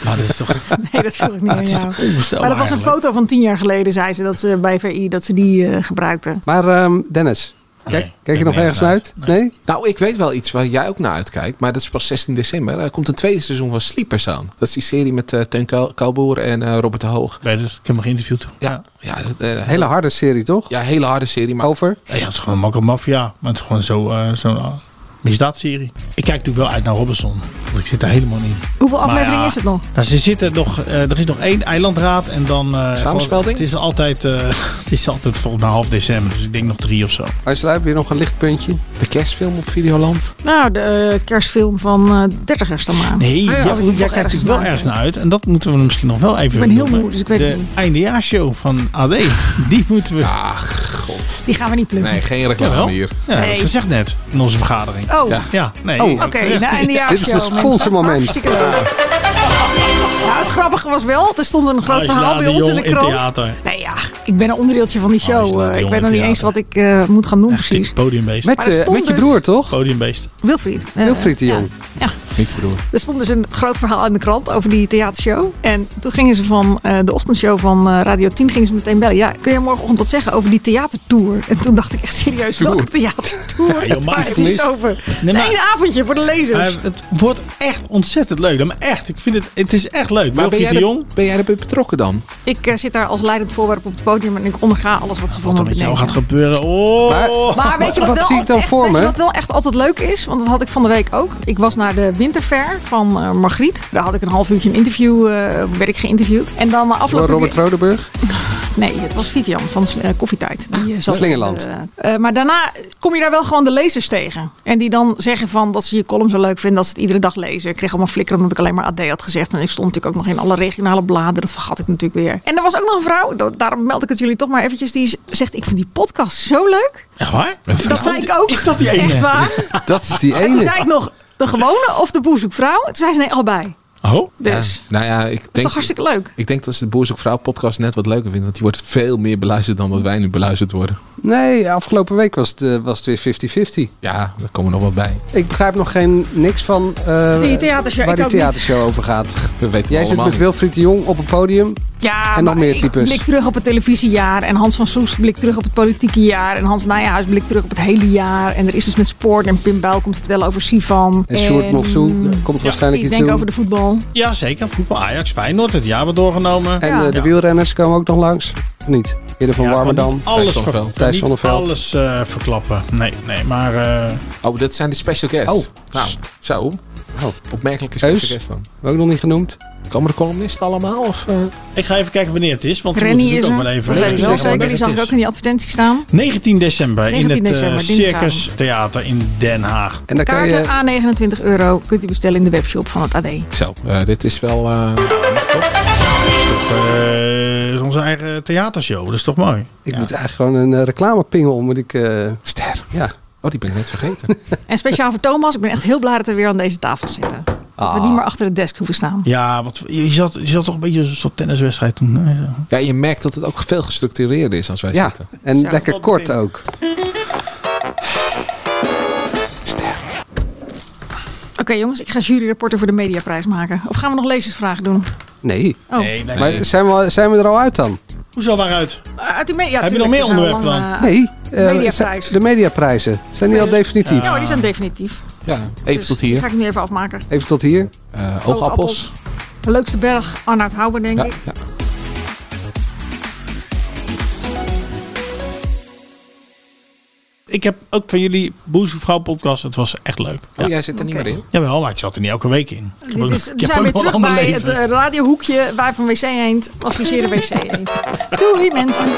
[SPEAKER 4] Maar dat is toch
[SPEAKER 3] Nee, dat
[SPEAKER 4] [laughs]
[SPEAKER 3] vroeg ik niet aan jou.
[SPEAKER 4] onvoorstelbaar
[SPEAKER 3] Maar dat was een
[SPEAKER 4] eigenlijk.
[SPEAKER 3] foto van tien jaar geleden, zei ze, dat ze bij VI, dat ze die eh, gebruikten.
[SPEAKER 1] Maar ehm, Dennis,
[SPEAKER 4] Nee,
[SPEAKER 1] kijk,
[SPEAKER 4] ben
[SPEAKER 1] kijk je nog
[SPEAKER 4] nergens
[SPEAKER 1] ergens uit? Nee?
[SPEAKER 2] Nou, ik weet wel iets waar jij ook naar uitkijkt. Maar dat is pas 16 december. Er komt een tweede seizoen van Sleepers aan. Dat is die serie met eh Teun Kuil- Kuilboer en eh, Robert de Hoog.
[SPEAKER 4] Nee, dus ik heb hem geïnterviewd.
[SPEAKER 2] Ja, ja, eh,
[SPEAKER 1] Hele harde serie, toch?
[SPEAKER 2] ja, hele harde serie. Maar
[SPEAKER 1] Over?
[SPEAKER 4] Ja, het is gewoon makkelijk maffia. Maar het is gewoon zo'n eh zo'n, eh, misdaadserie. Ik kijk natuurlijk wel uit naar Robinson. Want ik zit er helemaal in.
[SPEAKER 3] Hoeveel
[SPEAKER 4] Maar
[SPEAKER 3] afleveringen
[SPEAKER 4] ja.
[SPEAKER 3] is het nog?
[SPEAKER 4] Nou, ze zitten nog, eh, er is nog één eilandraad en dan... eh,
[SPEAKER 2] Samenspelding?
[SPEAKER 4] gewoon- Het is altijd, eh, [laughs] het is altijd volgens mij half december. Dus ik denk nog drie of zo.
[SPEAKER 1] Uitsluit, heb je nog een lichtpuntje?
[SPEAKER 2] de kerstfilm op Videoland.
[SPEAKER 3] Nou, de eh, kerstfilm van eh dertigers dan maar.
[SPEAKER 4] Nee,
[SPEAKER 2] ja,
[SPEAKER 4] jij-
[SPEAKER 2] als
[SPEAKER 3] Ah ik
[SPEAKER 4] jij
[SPEAKER 3] nog
[SPEAKER 4] kijkt
[SPEAKER 3] ergens
[SPEAKER 4] natuurlijk wel
[SPEAKER 3] naar
[SPEAKER 4] ergens naar uit. En dat moeten we misschien nog wel even...
[SPEAKER 3] Ik ben heel
[SPEAKER 4] noemen.
[SPEAKER 3] moe, dus ik weet
[SPEAKER 4] de
[SPEAKER 3] het niet.
[SPEAKER 4] eindejaarsshow van AD.
[SPEAKER 3] [laughs]
[SPEAKER 4] Die moeten we... Ja,
[SPEAKER 2] Ah, god.
[SPEAKER 3] Die gaan we niet plukken.
[SPEAKER 2] Nee, geen
[SPEAKER 4] Jawel.
[SPEAKER 2] reclame hier.
[SPEAKER 4] dat heb
[SPEAKER 3] Nee.
[SPEAKER 4] ik gezegd net in onze vergadering.
[SPEAKER 3] Oh,
[SPEAKER 2] Ja.
[SPEAKER 4] Ja, nee.
[SPEAKER 1] Oh,
[SPEAKER 3] oké. nou, Na eindejaarshow.
[SPEAKER 1] Dit is een sponsormoment.
[SPEAKER 3] Hartstikke leuk. Nou, het grappige was wel, er stond een groot
[SPEAKER 4] Huis
[SPEAKER 3] verhaal
[SPEAKER 4] Laan
[SPEAKER 3] bij ons in
[SPEAKER 4] Jong
[SPEAKER 3] de
[SPEAKER 4] in
[SPEAKER 3] krant.
[SPEAKER 4] theater.
[SPEAKER 3] nee ja, ik ben een onderdeeltje van die
[SPEAKER 4] Huis
[SPEAKER 3] show.
[SPEAKER 4] Laan Jong
[SPEAKER 3] eh, ik
[SPEAKER 4] in
[SPEAKER 3] weet nog niet
[SPEAKER 4] theater.
[SPEAKER 3] eens wat ik eh, moet gaan doen precies.
[SPEAKER 4] Echt, podiumbeest.
[SPEAKER 1] Met,
[SPEAKER 3] Maar er
[SPEAKER 1] eh,
[SPEAKER 3] stond
[SPEAKER 1] met je
[SPEAKER 3] dus-
[SPEAKER 1] broer, toch?
[SPEAKER 4] Podiumbeest.
[SPEAKER 3] Wilfried. eh,
[SPEAKER 1] Wilfried de
[SPEAKER 3] ja.
[SPEAKER 1] Jong.
[SPEAKER 3] Ja.
[SPEAKER 2] Niet te doen.
[SPEAKER 3] Er stond dus een groot verhaal in de krant over die theatershow. En toen gingen ze van eh, de ochtendshow van eh, Radio 10 gingen ze meteen bellen. Ja, kun je morgenochtend wat zeggen over die theatertour? En toen dacht ik echt serieus,
[SPEAKER 2] Tour.
[SPEAKER 3] welke theatertour?
[SPEAKER 4] [laughs] Ja, joh, maar
[SPEAKER 3] Waar
[SPEAKER 4] het
[SPEAKER 3] heb je
[SPEAKER 4] is-
[SPEAKER 3] het over? Het is
[SPEAKER 4] maar-
[SPEAKER 3] één avondje voor de lezers.
[SPEAKER 4] Maar het wordt echt ontzettend leuk. Maar echt, ik vind het, het is echt leuk.
[SPEAKER 2] Maar ben
[SPEAKER 4] Wilfried
[SPEAKER 2] jij,
[SPEAKER 4] de Jong,
[SPEAKER 2] er, ben jij erbij betrokken dan?
[SPEAKER 3] ik eh, zit daar als leidend voorwerp op het podium en ik onderga alles wat ze van
[SPEAKER 4] wat
[SPEAKER 3] me
[SPEAKER 4] er met jou
[SPEAKER 3] bedenken.
[SPEAKER 4] gaat gebeuren. Oh.
[SPEAKER 1] Maar-
[SPEAKER 3] Maar weet je wat,
[SPEAKER 1] Wat
[SPEAKER 3] wel
[SPEAKER 1] zie ik
[SPEAKER 3] altijd
[SPEAKER 1] dan
[SPEAKER 3] echt,
[SPEAKER 1] voor
[SPEAKER 3] weet je
[SPEAKER 1] me?
[SPEAKER 3] wat wel echt altijd leuk is? Want dat had ik van de week ook. Ik was naar de winterfair van eh, Margriet. Daar had ik een half uurtje een interview, eh werd ik geïnterviewd. En dan na afloop...
[SPEAKER 1] Door Robert Rodenburg?
[SPEAKER 3] Nee, het was Vivian van eh, Koffietijd. Die, eh, zat-
[SPEAKER 1] Slingerland.
[SPEAKER 3] eh, eh, maar daarna kom je daar wel gewoon de lezers tegen. En die dan zeggen van dat ze je column zo leuk vinden dat ze het iedere dag lezen. Ik kreeg allemaal flikker omdat ik alleen maar AD had gezegd. En ik stond natuurlijk ook nog in alle regionale bladen. Dat vergat ik natuurlijk weer. En er was ook nog een vrouw, da- daarom meld ik het jullie toch maar eventjes. Die zegt, ik vind die podcast zo leuk.
[SPEAKER 4] Echt waar?
[SPEAKER 3] Dat zei ik ook.
[SPEAKER 4] Is dat die ene?
[SPEAKER 3] Echt waar.
[SPEAKER 1] [laughs] Dat is die
[SPEAKER 3] En
[SPEAKER 1] ene.
[SPEAKER 3] toen zei ik nog, de gewone of de boerzoekvrouw? Toen zei ze nee, allebei.
[SPEAKER 4] Oh?
[SPEAKER 3] Dus.
[SPEAKER 2] Ja, nou ja, ik
[SPEAKER 3] Dat is
[SPEAKER 2] denk,
[SPEAKER 3] toch hartstikke leuk?
[SPEAKER 2] ik denk dat ze de Boerzoekvrouw podcast net wat leuker vinden. Want die wordt veel meer beluisterd dan dat wij nu beluisterd worden.
[SPEAKER 1] Nee, afgelopen week was het, eh, was het weer 50-50.
[SPEAKER 2] Ja, daar komen we nog wat bij.
[SPEAKER 1] Ik begrijp nog geen niks van eh,
[SPEAKER 3] Die theatershow,
[SPEAKER 1] waar
[SPEAKER 3] ik
[SPEAKER 1] die
[SPEAKER 3] ook niet.
[SPEAKER 1] theatershow over gaat.
[SPEAKER 2] We weten
[SPEAKER 1] Jij
[SPEAKER 2] het
[SPEAKER 1] zit
[SPEAKER 2] allemaal
[SPEAKER 1] met
[SPEAKER 2] niet.
[SPEAKER 1] Wilfried de Jong op een podium.
[SPEAKER 3] Ja,
[SPEAKER 1] En nog
[SPEAKER 3] maar
[SPEAKER 1] meer
[SPEAKER 3] ik
[SPEAKER 1] types.
[SPEAKER 3] Blik terug op het televisiejaar. En Hans van Soest blik terug op het politieke jaar. En Hans Nijenhuis blik terug op het hele jaar. En er is dus met sport. En Pim Bijl komt te vertellen over Sivan.
[SPEAKER 1] En Sjoerd Mofsoe eh, komt waarschijnlijk
[SPEAKER 3] Ehm, Ik
[SPEAKER 1] iets
[SPEAKER 3] denk
[SPEAKER 1] doen.
[SPEAKER 3] over de voetbal.
[SPEAKER 4] Ja, zeker. Voetbal Ajax, Feyenoord, het jaar wordt doorgenomen.
[SPEAKER 1] En
[SPEAKER 3] Ja.
[SPEAKER 1] eh, de wielrenners komen ook nog langs. Of niet? Eerder van
[SPEAKER 4] Ja, kan
[SPEAKER 1] Warmerdam.
[SPEAKER 4] niet Alles
[SPEAKER 2] Thijs Zonneveld.
[SPEAKER 4] verklappen.
[SPEAKER 1] Thijs
[SPEAKER 4] Niet
[SPEAKER 1] Zonneveld.
[SPEAKER 4] Alles eh, verklappen. Nee, nee, maar... eh,
[SPEAKER 2] Oh, dat zijn de special guests.
[SPEAKER 1] Oh.
[SPEAKER 2] Nou, zo. Opmerkelijke
[SPEAKER 1] Heus.
[SPEAKER 2] special guest dan.
[SPEAKER 1] We ook nog niet genoemd.
[SPEAKER 2] Oh. Komen de columnisten allemaal? Of, eh?
[SPEAKER 4] ik ga even kijken wanneer het is, want we
[SPEAKER 3] Rennie
[SPEAKER 4] moeten
[SPEAKER 3] is
[SPEAKER 4] natuurlijk
[SPEAKER 3] er.
[SPEAKER 4] ook wel even...
[SPEAKER 3] dat weet ik
[SPEAKER 4] zeggen
[SPEAKER 3] wel
[SPEAKER 4] wanneer het
[SPEAKER 3] zeker. Die zag ik
[SPEAKER 4] is.
[SPEAKER 3] ook in die advertentie staan.
[SPEAKER 4] 19 december in het
[SPEAKER 3] 19
[SPEAKER 4] eh,
[SPEAKER 3] december, dinsdagavond.
[SPEAKER 4] Circus Theater in Den Haag.
[SPEAKER 1] En dan kan
[SPEAKER 3] Kaarten
[SPEAKER 1] je...
[SPEAKER 3] aan 29 euro kunt u bestellen in de webshop van het AD.
[SPEAKER 2] Zo, eh, dit is wel... eh,
[SPEAKER 4] Of, eh, is onze eigen theatershow, dat is toch mooi?
[SPEAKER 1] Ik
[SPEAKER 4] Ja.
[SPEAKER 1] moet eigenlijk gewoon een eh, reclamepingel moet ik... eh,
[SPEAKER 2] ster.
[SPEAKER 1] ja.
[SPEAKER 2] Oh, die ben ik net [laughs] vergeten.
[SPEAKER 3] En speciaal voor Thomas. Ik ben echt heel blij dat we weer aan deze tafel zitten. Dat
[SPEAKER 1] Ah.
[SPEAKER 3] we niet meer achter het desk hoeven staan.
[SPEAKER 4] Ja, want je zat, je zat toch een beetje zo'n soort tenniswedstrijd toen. hè?
[SPEAKER 2] ja, je merkt dat het ook veel gestructureerder is als wij
[SPEAKER 1] Ja,
[SPEAKER 2] zitten.
[SPEAKER 1] en
[SPEAKER 3] Zo.
[SPEAKER 1] lekker kort ook.
[SPEAKER 3] Oké jongens, ik ga juryrapporten voor de mediaprijs maken. Of gaan we nog lezersvragen doen?
[SPEAKER 1] Nee.
[SPEAKER 3] Oh,
[SPEAKER 4] Nee, nee.
[SPEAKER 1] Maar zijn we, zijn we er al uit dan?
[SPEAKER 4] Hoezo waaruit?
[SPEAKER 3] Eh, uit die me- ja,
[SPEAKER 4] Heb je
[SPEAKER 3] tuurlijk,
[SPEAKER 4] nog meer
[SPEAKER 3] we zijn al
[SPEAKER 4] onderwerpen
[SPEAKER 3] lang,
[SPEAKER 4] dan?
[SPEAKER 3] eh,
[SPEAKER 1] Nee. eh,
[SPEAKER 3] Mediaprijs.
[SPEAKER 1] De mediaprijzen. Zijn die al definitief?
[SPEAKER 3] Ja, die zijn definitief.
[SPEAKER 2] Ja, even
[SPEAKER 3] Dus
[SPEAKER 2] tot
[SPEAKER 3] die Ga
[SPEAKER 2] hier.
[SPEAKER 3] ik nu even afmaken.
[SPEAKER 1] Even tot hier.
[SPEAKER 2] Eh, oogappels.
[SPEAKER 3] De leukste berg, Arnoud Houwer, denk
[SPEAKER 2] Ja,
[SPEAKER 3] ik.
[SPEAKER 2] ja.
[SPEAKER 4] Ik heb ook van jullie Boezemvrouw podcast. Het was echt leuk.
[SPEAKER 2] Oh,
[SPEAKER 4] Ja.
[SPEAKER 2] jij zit er niet
[SPEAKER 3] Oké.
[SPEAKER 2] meer in.
[SPEAKER 4] Jawel, maar ik zat er niet elke week in. Ik heb ook
[SPEAKER 3] Dit
[SPEAKER 4] nog-
[SPEAKER 3] is,
[SPEAKER 4] ik
[SPEAKER 3] we
[SPEAKER 4] heb
[SPEAKER 3] zijn
[SPEAKER 4] ook
[SPEAKER 3] weer
[SPEAKER 4] nog een
[SPEAKER 3] terug
[SPEAKER 4] ander
[SPEAKER 3] bij het
[SPEAKER 4] leven.
[SPEAKER 3] eh,
[SPEAKER 4] [laughs]
[SPEAKER 3] radiohoekje waar van WC Eend adviseerde WC Eend. Doei mensen.